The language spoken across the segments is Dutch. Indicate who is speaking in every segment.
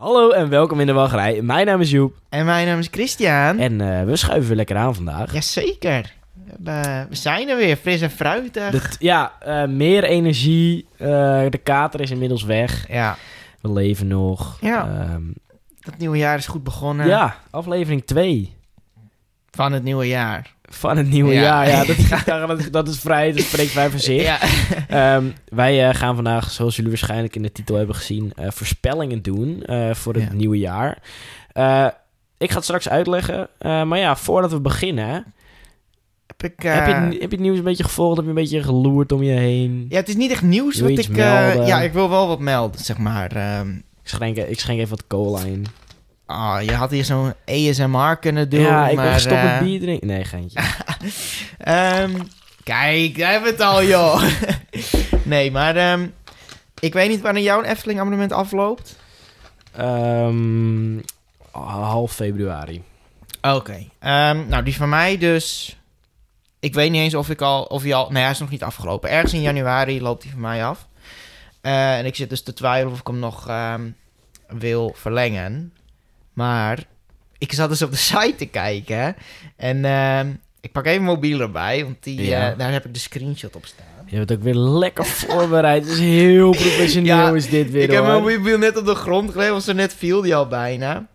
Speaker 1: Hallo en welkom in de wachtrij. Mijn naam is Joep
Speaker 2: En mijn naam is Christian.
Speaker 1: en eh, we schuiven weer lekker aan vandaag.
Speaker 2: Jazeker. We, we zijn er weer, fris en fruitig.
Speaker 1: De t- ja, eh, meer energie. eh, de kater is inmiddels weg.
Speaker 2: Ja,
Speaker 1: We leven nog.
Speaker 2: Ja.
Speaker 1: Ehm,
Speaker 2: dat nieuwe jaar is goed begonnen.
Speaker 1: ja aflevering 2
Speaker 2: Van het nieuwe jaar.
Speaker 1: van het nieuwe
Speaker 2: Ja.
Speaker 1: jaar. Ja, dat, dat, is- dat is vrij, dat spreekt vrij voor zich.
Speaker 2: Ja.
Speaker 1: Ehm, wij eh, gaan vandaag, zoals jullie waarschijnlijk in de titel hebben gezien, eh, voorspellingen doen eh, voor het
Speaker 2: Ja.
Speaker 1: nieuwe jaar. Eh, ik ga het straks uitleggen. eh, maar ja, voordat we beginnen,
Speaker 2: Heb ik, eh,
Speaker 1: heb, je, het- heb je het nieuws een beetje gevolgd? Heb je een beetje geloerd om je heen?
Speaker 2: Ja, het is niet echt nieuws
Speaker 1: Wil
Speaker 2: wat
Speaker 1: je
Speaker 2: ik...
Speaker 1: iets
Speaker 2: eh,
Speaker 1: melden?
Speaker 2: ja, ik wil wel wat melden, zeg maar. Ehm,
Speaker 1: Ik schenk, ik schenk even wat cola in.
Speaker 2: Ah, je had hier zo'n ASMR kunnen doen,
Speaker 1: ja, ik ben
Speaker 2: maar...
Speaker 1: gestopt
Speaker 2: eh,
Speaker 1: met bier drinken. Nee, geintje.
Speaker 2: ehm, kijk, daar hebben we het al, joh. nee, maar... ehm, ik weet niet wanneer jouw Efteling abonnement afloopt.
Speaker 1: Ehm, half februari.
Speaker 2: Oké. Ehm, nou, die van mij dus... Ik weet niet eens of ik al... Of hij al... Nee, hij is nog niet afgelopen. Ergens in januari loopt die van mij af. Eh, en ik zit dus te twijfelen of ik hem nog ehm, wil verlengen. Maar ik zat dus op de site te kijken. En ehm, ik pak even mijn mobiel erbij. Want die,
Speaker 1: Ja.
Speaker 2: eh, daar heb ik de screenshot op staan.
Speaker 1: Je bent ook weer lekker voorbereid. Het is heel professioneel
Speaker 2: Ja,
Speaker 1: is dit weer,
Speaker 2: ik heb
Speaker 1: hoor.
Speaker 2: mijn mobiel net op de grond gelegd. Want zo net viel die al bijna.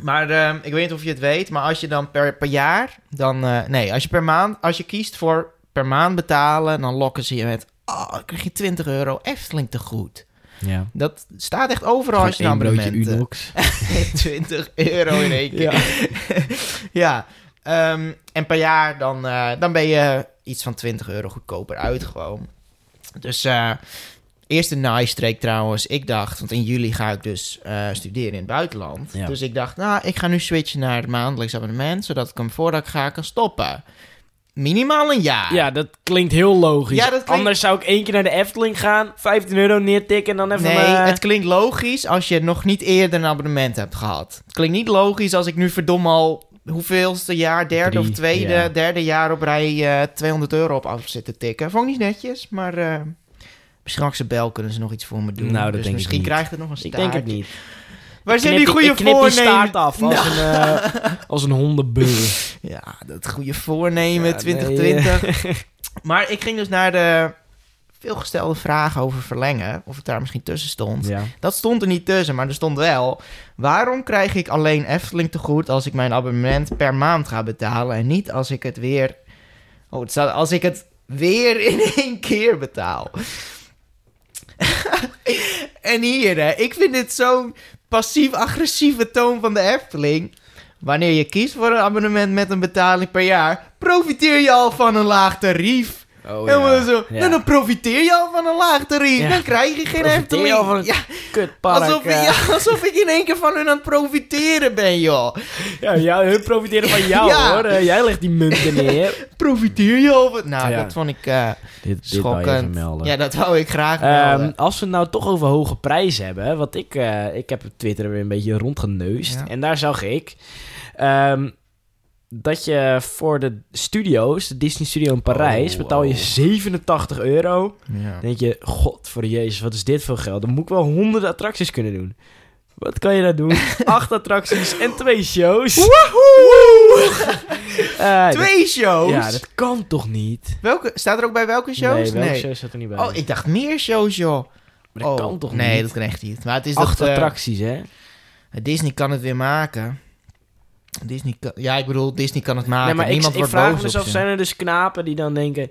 Speaker 2: Maar ehm, ik weet niet of je het weet, maar als je dan per, per jaar, dan. eh, nee, als je per maand, als je kiest voor per maand betalen, dan lokken ze je met. Oh, dan krijg je 20 euro Efteling te goed.
Speaker 1: Ja.
Speaker 2: Dat staat echt overal als je een
Speaker 1: Gewoon één broodje
Speaker 2: abonnement. eh,
Speaker 1: Unox.
Speaker 2: 20 euro in één keer.
Speaker 1: Ja.
Speaker 2: Ja. ehm, en per jaar dan, eh, dan ben je iets van 20 euro goedkoper uit gewoon. Dus eh, eerst een nice trek trouwens. Ik dacht, want in juli ga ik dus eh, studeren in het buitenland.
Speaker 1: Ja.
Speaker 2: Dus ik dacht, nou, ik ga nu switchen naar het maandelijks abonnement, zodat ik hem voordat ik ga kan stoppen. Minimaal een jaar.
Speaker 1: ja, dat klinkt heel logisch.
Speaker 2: Ja, dat klinkt-
Speaker 1: Anders zou ik één keer naar de Efteling gaan, 15 euro neertikken en dan even...
Speaker 2: Nee,
Speaker 1: eh,
Speaker 2: het klinkt logisch als je nog niet eerder een abonnement hebt gehad. Het klinkt niet logisch als ik nu verdomme al hoeveelste jaar, derde
Speaker 1: Drie,
Speaker 2: of tweede,
Speaker 1: ja.
Speaker 2: derde jaar op rij eh, 200 euro op af zit te tikken. Vond ik niet netjes, maar eh straks de bel kunnen ze nog iets voor me doen.
Speaker 1: Nou, dat
Speaker 2: dus
Speaker 1: denk ik
Speaker 2: misschien
Speaker 1: niet.
Speaker 2: krijgt het nog een
Speaker 1: Ik
Speaker 2: staart.
Speaker 1: denk het niet.
Speaker 2: Waar zijn
Speaker 1: Knip
Speaker 2: die goede
Speaker 1: ik knip die staart
Speaker 2: voornemen?
Speaker 1: af als een, eh, als een hondenbeur.
Speaker 2: Ja, dat goede voornemen
Speaker 1: Ja,
Speaker 2: 2020. maar ik ging dus naar de veelgestelde vraag over verlengen. Of het daar misschien tussen stond.
Speaker 1: Ja.
Speaker 2: Dat stond er niet tussen, maar er stond wel... waarom krijg ik alleen Efteling tegoed als ik mijn abonnement per maand ga betalen... en niet als ik het weer... Oh, het staat als ik het weer in één keer betaal. en hier, hè, ik vind dit zo'n passief-agressieve toon van de Efteling... Wanneer je kiest voor een abonnement met een betaling per jaar, profiteer je al van een laag tarief.
Speaker 1: Oh,
Speaker 2: Helemaal
Speaker 1: ja.
Speaker 2: zo.
Speaker 1: Ja.
Speaker 2: Nou, dan profiteer je al van een laag tarief.
Speaker 1: Ja.
Speaker 2: Dan krijg je geen
Speaker 1: Profiteer
Speaker 2: Efteling.
Speaker 1: je al van het
Speaker 2: Ja.
Speaker 1: Kutpark.
Speaker 2: Alsof,
Speaker 1: eh.
Speaker 2: ja, alsof ik in één keer van hun aan het profiteren ben, joh.
Speaker 1: Ja, jou, hun profiteren van jou
Speaker 2: Ja.
Speaker 1: hoor. Eh, jij legt die munten neer.
Speaker 2: Profiteer je over... Nou,
Speaker 1: Ja.
Speaker 2: dat vond ik eh,
Speaker 1: dit dit wou je even
Speaker 2: schokkend.
Speaker 1: melden.
Speaker 2: Ja, dat wou ik graag
Speaker 1: Ehm,
Speaker 2: melden.
Speaker 1: als we het nou toch over hoge prijzen hebben. Want ik, eh, ik heb op Twitter weer een beetje rondgeneust.
Speaker 2: Ja.
Speaker 1: En daar zag ik ehm, dat je voor de studio's, de Disney Studio in Parijs,
Speaker 2: Oh,
Speaker 1: betaal je
Speaker 2: oh.
Speaker 1: 87 euro.
Speaker 2: Ja.
Speaker 1: Dan denk je, god voor Jezus, wat is dit voor geld? Dan moet ik wel honderden attracties kunnen doen. Wat kan je daar doen? Acht attracties en twee shows.
Speaker 2: Woehoe!
Speaker 1: Eh, dat-
Speaker 2: Twee shows?
Speaker 1: Ja, dat kan toch niet?
Speaker 2: welke, staat er ook bij welke shows?
Speaker 1: Nee, welke show staat er niet bij?
Speaker 2: Oh, ik dacht meer shows, joh.
Speaker 1: Maar dat
Speaker 2: Oh,
Speaker 1: kan toch
Speaker 2: nee,
Speaker 1: niet?
Speaker 2: dat kan echt niet. Maar het is
Speaker 1: Acht
Speaker 2: dat... eh,
Speaker 1: attracties, hè?
Speaker 2: Disney kan het weer maken. Disney kan... Ja, ik bedoel, Disney kan het maken.
Speaker 1: nee, maar ik,
Speaker 2: Niemand
Speaker 1: ik
Speaker 2: wordt
Speaker 1: vraag
Speaker 2: boos
Speaker 1: me dus
Speaker 2: op
Speaker 1: af,
Speaker 2: ze.
Speaker 1: zijn er dus knapen die dan denken...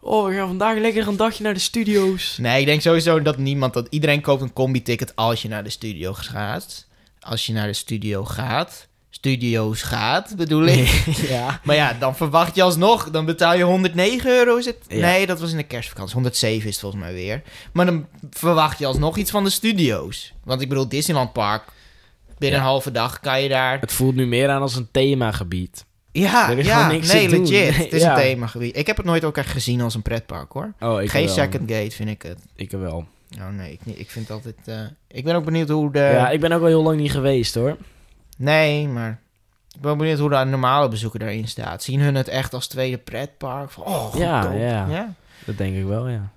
Speaker 1: Oh, we gaan vandaag lekker een dagje naar de studio's.
Speaker 2: Nee, ik denk sowieso dat niemand dat. Iedereen koopt een combi-ticket als je naar de studio gaat. Als je naar de studio gaat. Studio's gaat, bedoel ik.
Speaker 1: ja.
Speaker 2: Maar ja, dan verwacht je alsnog. Dan betaal je 109 euro. Is het?
Speaker 1: Ja.
Speaker 2: Nee, dat was in de kerstvakantie. 107 is het volgens mij weer. Maar dan verwacht je alsnog iets van de studio's. Want ik bedoel, Disneyland Park. Binnen
Speaker 1: Ja.
Speaker 2: een halve dag kan je daar.
Speaker 1: Het voelt nu meer aan als een themagebied.
Speaker 2: Ja,
Speaker 1: Er is
Speaker 2: ja
Speaker 1: gewoon niks
Speaker 2: nee,
Speaker 1: te doen.
Speaker 2: legit. Het is
Speaker 1: Ja.
Speaker 2: een themagebied. Ik heb het nooit ook echt gezien als een pretpark hoor.
Speaker 1: Oh, ik
Speaker 2: Geen
Speaker 1: wel.
Speaker 2: second gate vind ik het.
Speaker 1: Ik wel.
Speaker 2: Oh nee, ik, niet. ik vind altijd. eh, ik ben ook benieuwd hoe de.
Speaker 1: ja, ik ben ook wel heel lang niet geweest, hoor.
Speaker 2: Nee, maar ik ben benieuwd hoe de normale bezoeker daarin staat. Zien hun het echt als tweede pretpark? Van, oh, goedkoop.
Speaker 1: Ja, ja.
Speaker 2: ja.
Speaker 1: Dat denk ik wel, ja.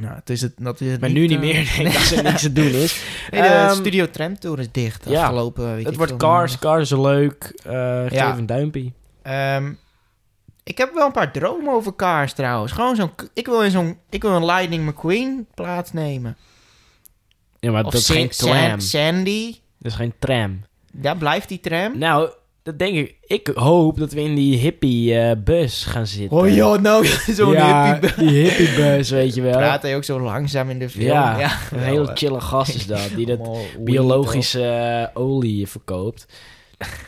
Speaker 2: Nou, het is het, dat is het
Speaker 1: Maar nu niet
Speaker 2: eh,
Speaker 1: meer. Nee, als er niks te doen is.
Speaker 2: Nee, de
Speaker 1: Ehm,
Speaker 2: Studio Tram Tour is dicht
Speaker 1: ja.
Speaker 2: afgelopen week.
Speaker 1: Het wordt Cars. Cars is leuk. Eh, geef
Speaker 2: Ja.
Speaker 1: een duimpje.
Speaker 2: Ehm, ik heb wel een paar dromen over Cars trouwens. Gewoon zo'n... Ik wil, in zo'n, ik wil een Lightning McQueen plaatsnemen.
Speaker 1: Ja, maar
Speaker 2: of
Speaker 1: dat is
Speaker 2: Sa-
Speaker 1: geen
Speaker 2: Sa-
Speaker 1: tram.
Speaker 2: Sandy.
Speaker 1: Dat is geen tram.
Speaker 2: Daar blijft die tram.
Speaker 1: Nou, dat denk ik. Ik hoop dat we in die hippie eh, bus gaan zitten.
Speaker 2: Oh joh, nou zo'n
Speaker 1: ja,
Speaker 2: hippie.
Speaker 1: die hippiebus, weet je wel.
Speaker 2: Praat hij ook zo langzaam in de film.
Speaker 1: Ja, Een
Speaker 2: wel,
Speaker 1: heel
Speaker 2: eh,
Speaker 1: chille gast is dat, die dat
Speaker 2: allemaal weed
Speaker 1: biologische eh, olie verkoopt.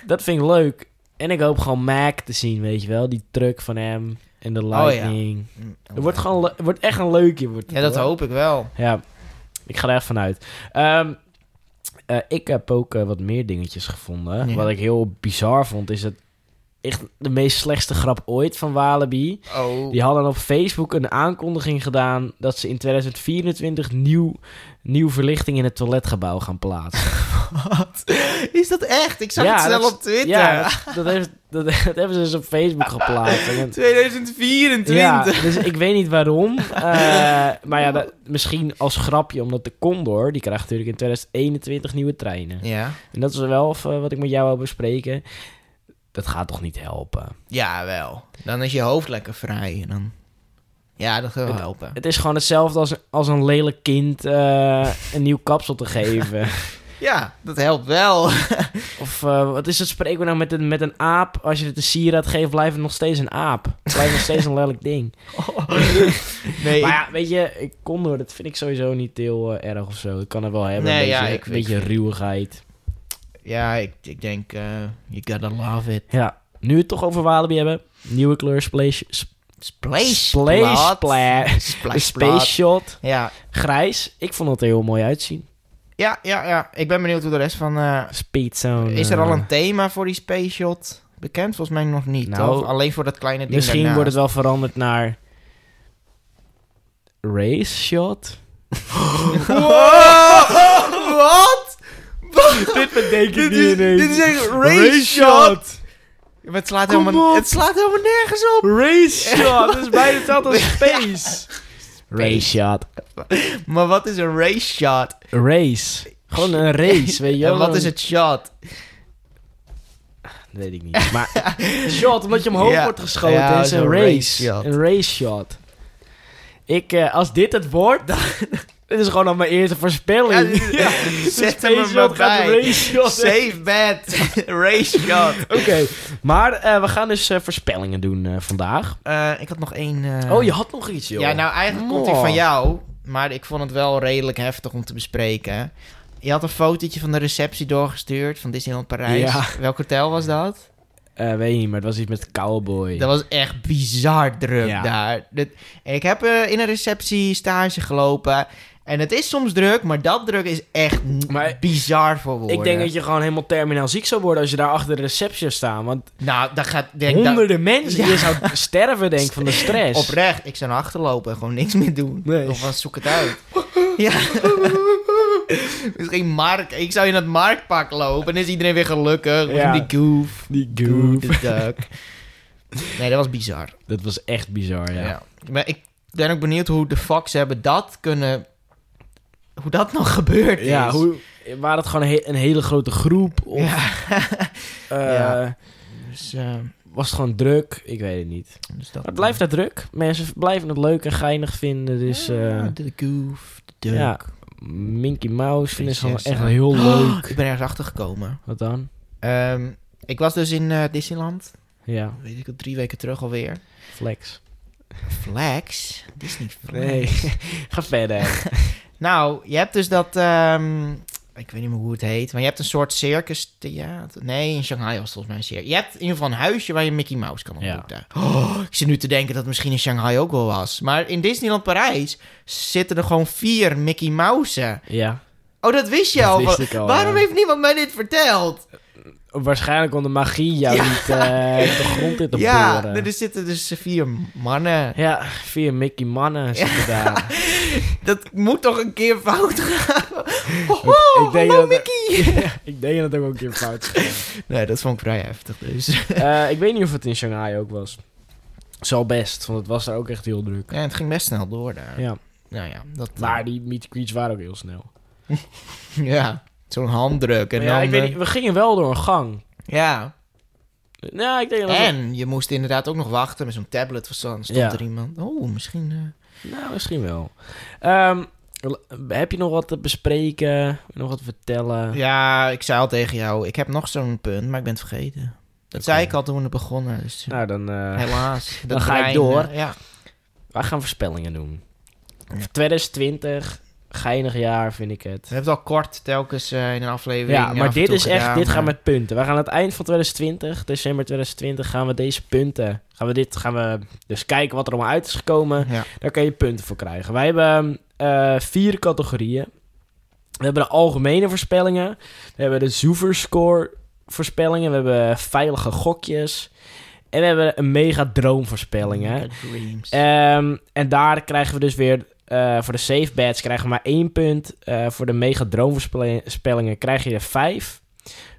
Speaker 1: Dat vind ik leuk. En ik hoop gewoon Mac te zien, weet je wel. Die truck van hem en de
Speaker 2: Oh ja.
Speaker 1: lightning.
Speaker 2: op. Mm,
Speaker 1: Het wordt gewoon le- het wordt echt een leukje. Wordt het,
Speaker 2: Ja, dat
Speaker 1: hoor.
Speaker 2: hoop ik wel.
Speaker 1: Ja, ik ga er echt vanuit. Ehm, eh, ik heb ook eh, wat meer dingetjes gevonden.
Speaker 2: Ja.
Speaker 1: Wat ik heel bizar vond, is dat echt de meest slechtste grap ooit van Walibi.
Speaker 2: Oh.
Speaker 1: Die hadden op Facebook een aankondiging gedaan dat ze in 2024 nieuw, nieuw verlichting in het toiletgebouw gaan plaatsen.
Speaker 2: Is dat echt? Ik zag
Speaker 1: Ja,
Speaker 2: het snel
Speaker 1: dat-
Speaker 2: op Twitter.
Speaker 1: Ja, dat, dat, heeft, dat, dat hebben ze dus op Facebook geplaatst. En-
Speaker 2: 2024.
Speaker 1: Ja, dus ik weet niet waarom. Eh, maar ja, dat- misschien als grapje, omdat de Condor, die krijgt natuurlijk in 2021 nieuwe treinen.
Speaker 2: Ja.
Speaker 1: En dat is wel even wat ik met jou wil bespreken. Dat gaat toch niet helpen?
Speaker 2: Ja, wel. Dan is je hoofd lekker vrij. En dan... Ja, dat gaat wel helpen.
Speaker 1: Het is gewoon hetzelfde als, als een lelijk kind eh, een nieuw kapsel te geven.
Speaker 2: Ja, dat helpt wel.
Speaker 1: Of eh, wat is het spreekwoord nou met een, met een aap? Als je het een sieraad geeft, blijft het nog steeds een aap. Het blijft nog steeds een lelijk ding.
Speaker 2: nee,
Speaker 1: Maar
Speaker 2: ik-
Speaker 1: ja, weet je, ik kon door. Dat vind ik sowieso niet heel eh, erg of zo. Ik kan er wel hebben.
Speaker 2: Nee,
Speaker 1: een
Speaker 2: ja,
Speaker 1: beetje,
Speaker 2: ik-
Speaker 1: een beetje
Speaker 2: ik-
Speaker 1: ruwigheid.
Speaker 2: ja, ik, ik denk, eh you gotta love it.
Speaker 1: Ja, nu we het toch over Walibi hebben. Nieuwe kleur, splash... sp-
Speaker 2: Splash,
Speaker 1: splash,
Speaker 2: splat.
Speaker 1: splash,
Speaker 2: Splash,
Speaker 1: space
Speaker 2: splat.
Speaker 1: shot.
Speaker 2: Ja.
Speaker 1: Grijs. Ik vond het er heel mooi uitzien.
Speaker 2: Ja, ja, ja. Ik ben benieuwd hoe de rest van... eh,
Speaker 1: Speedzone.
Speaker 2: is er al
Speaker 1: eh,
Speaker 2: een thema voor die space shot? Bekend? Volgens mij nog niet,
Speaker 1: Nou,
Speaker 2: toch? Alleen voor dat kleine ding
Speaker 1: Misschien
Speaker 2: daarnaast.
Speaker 1: wordt het wel veranderd naar... Race shot?
Speaker 2: Wow! Wat?
Speaker 1: Dit bedenk
Speaker 2: Dit is, dit is echt race
Speaker 1: Race
Speaker 2: shot. Maar het, slaat
Speaker 1: Kom
Speaker 2: helemaal,
Speaker 1: op.
Speaker 2: het slaat helemaal nergens op.
Speaker 1: Race shot. Dat is bijna hetzelfde als space. Race shot.
Speaker 2: Maar wat is een race shot?
Speaker 1: Race. Gewoon een race, weet je wel.
Speaker 2: en wat is het shot?
Speaker 1: Weet ik niet. Maar shot, omdat je omhoog
Speaker 2: Ja.
Speaker 1: wordt geschoten,
Speaker 2: Ja,
Speaker 1: is een
Speaker 2: zo'n
Speaker 1: race.
Speaker 2: race shot.
Speaker 1: Een race shot. Ik, eh, als dit het wordt... dit is gewoon al mijn eerste
Speaker 2: Ja,
Speaker 1: voorspelling.
Speaker 2: dit- Zet hem
Speaker 1: Space
Speaker 2: er maar
Speaker 1: shot gaat een
Speaker 2: bij.
Speaker 1: race shot.
Speaker 2: Safe bet. race shot.
Speaker 1: Oké, maar eh, we gaan dus eh, voorspellingen doen eh, vandaag.
Speaker 2: Eh, ik had nog één... eh,
Speaker 1: oh, je had nog iets, joh.
Speaker 2: Ja, nou eigenlijk komt hij
Speaker 1: Oh.
Speaker 2: van jou. Maar ik vond het wel redelijk heftig om te bespreken. Je had een fotootje van de receptie doorgestuurd van Disneyland Parijs.
Speaker 1: Ja.
Speaker 2: Welk hotel was dat?
Speaker 1: Eh, weet niet, maar het was iets met cowboy.
Speaker 2: Dat was echt bizar druk
Speaker 1: Ja.
Speaker 2: daar. Dat- en ik heb eh, in een receptie stage gelopen. En het is soms druk, maar dat druk is echt n-
Speaker 1: Maar-
Speaker 2: bizar voor woorden.
Speaker 1: Ik denk dat je gewoon helemaal terminaal ziek zou worden als je daar achter de receptie zou staan. Want
Speaker 2: Nou, dat gaat... Denk, dat-
Speaker 1: honderden mensen die
Speaker 2: Ja.
Speaker 1: je zou sterven, denk ik, van de stress.
Speaker 2: oprecht, ik zou naar achter lopen en gewoon niks meer doen.
Speaker 1: Nee.
Speaker 2: Of van zoek het uit. ja. Misschien Mark. Ik zou in het Markpak lopen en is iedereen weer gelukkig. Of
Speaker 1: Ja.
Speaker 2: in die goof.
Speaker 1: Die
Speaker 2: Goof.
Speaker 1: goof.
Speaker 2: de duck. Nee, dat was bizar.
Speaker 1: Dat was echt bizar, ja.
Speaker 2: Ja. Maar ik ben ook benieuwd hoe de Fox hebben dat kunnen... Hoe dat nog gebeurd is.
Speaker 1: Ja, hoe, waren het gewoon een, he- een hele grote groep? Of
Speaker 2: Ja.
Speaker 1: eh,
Speaker 2: Ja. Dus, eh,
Speaker 1: was het gewoon druk? Ik weet het niet.
Speaker 2: dus dat,
Speaker 1: Maar het blijft daar druk. Mensen blijven het leuk en geinig vinden. Dus eh,
Speaker 2: Ja, de goof, de duck.
Speaker 1: ja, Minky Mouse vinden ze gewoon echt
Speaker 2: Prinses,
Speaker 1: heel
Speaker 2: Ik
Speaker 1: leuk.
Speaker 2: ben ergens achtergekomen.
Speaker 1: Wat dan?
Speaker 2: Ehm ik was dus in eh, Disneyland.
Speaker 1: Ja,
Speaker 2: Weet ik het, drie weken terug alweer.
Speaker 1: flex.
Speaker 2: Flex? Disney Flex?
Speaker 1: Nee, ga verder.
Speaker 2: Nou, je hebt dus dat... ehm, ik weet niet meer hoe het heet. Maar je hebt een soort circus theater. Nee, in Shanghai was het volgens mij een circus. Je hebt in ieder geval een huisje waar je Mickey Mouse kan
Speaker 1: Ja.
Speaker 2: ontmoeten. Oh, ik zit nu te denken dat het misschien in Shanghai ook wel was. Maar in Disneyland Parijs zitten er gewoon vier Mickey Mouse'en.
Speaker 1: Ja,
Speaker 2: Oh, dat wist je
Speaker 1: Dat
Speaker 2: al.
Speaker 1: wist
Speaker 2: Wa-
Speaker 1: ik al,
Speaker 2: Waarom
Speaker 1: ja.
Speaker 2: heeft niemand mij dit verteld?
Speaker 1: waarschijnlijk om de magie jou niet eh, de grond in te
Speaker 2: ja,
Speaker 1: boren.
Speaker 2: er zitten dus vier mannen.
Speaker 1: Ja, vier Mickey mannen zitten daar.
Speaker 2: Dat moet toch een keer fout gaan? Oh,
Speaker 1: ik denk
Speaker 2: hallo
Speaker 1: dat er-
Speaker 2: Mickey!
Speaker 1: ik denk dat het ook een keer fout is.
Speaker 2: Nee, dat vond ik vrij heftig dus.
Speaker 1: Eh, ik weet niet of het in Shanghai ook was. Zal best, want het was daar ook echt heel druk.
Speaker 2: Ja, het ging best snel door daar.
Speaker 1: Ja.
Speaker 2: nou ja, dat...
Speaker 1: Maar die meet and greets waren ook heel snel.
Speaker 2: Ja, zo'n handdruk. En
Speaker 1: Maar ja,
Speaker 2: dan,
Speaker 1: ik weet
Speaker 2: eh,
Speaker 1: niet, we gingen wel door een gang.
Speaker 2: ja,
Speaker 1: Nou, ik denk dat...
Speaker 2: en je moest inderdaad ook nog wachten met zo'n tablet. want Dan stond
Speaker 1: Ja.
Speaker 2: er iemand. Oh, misschien... eh,
Speaker 1: Nou, misschien wel. Ehm, heb je nog wat te bespreken? Nog wat te vertellen?
Speaker 2: Ja, ik zei al tegen jou, ik heb nog zo'n punt, maar ik ben het vergeten. Dat zei ik al toen we begonnen. Dus,
Speaker 1: Nou, dan... eh,
Speaker 2: Helaas.
Speaker 1: Dan ga ik door.
Speaker 2: eh, ja.
Speaker 1: Wij gaan voorspellingen doen. 2020, geinig jaar vind ik het.
Speaker 2: We hebben het al kort telkens eh, in een aflevering.
Speaker 1: Ja,
Speaker 2: af
Speaker 1: maar
Speaker 2: en
Speaker 1: dit
Speaker 2: toe
Speaker 1: is echt,
Speaker 2: gedaan, eh.
Speaker 1: dit gaan
Speaker 2: maar-
Speaker 1: met punten. We gaan aan het eind van 2020, december 2020, gaan we deze punten, gaan we dit, gaan we dus kijken wat er allemaal uit is gekomen.
Speaker 2: Ja.
Speaker 1: Daar kan je punten voor krijgen. Wij hebben eh, vier categorieën. We hebben de algemene voorspellingen. We hebben de Zoeverscore voorspellingen. We hebben veilige gokjes. En we hebben een mega droomvoorspellingen.
Speaker 2: Dreams.
Speaker 1: Ehm, en daar krijgen we dus weer... eh, voor de safe bets krijgen we maar één punt. Eh, voor de mega droomvoorspellingen krijg je er vijf.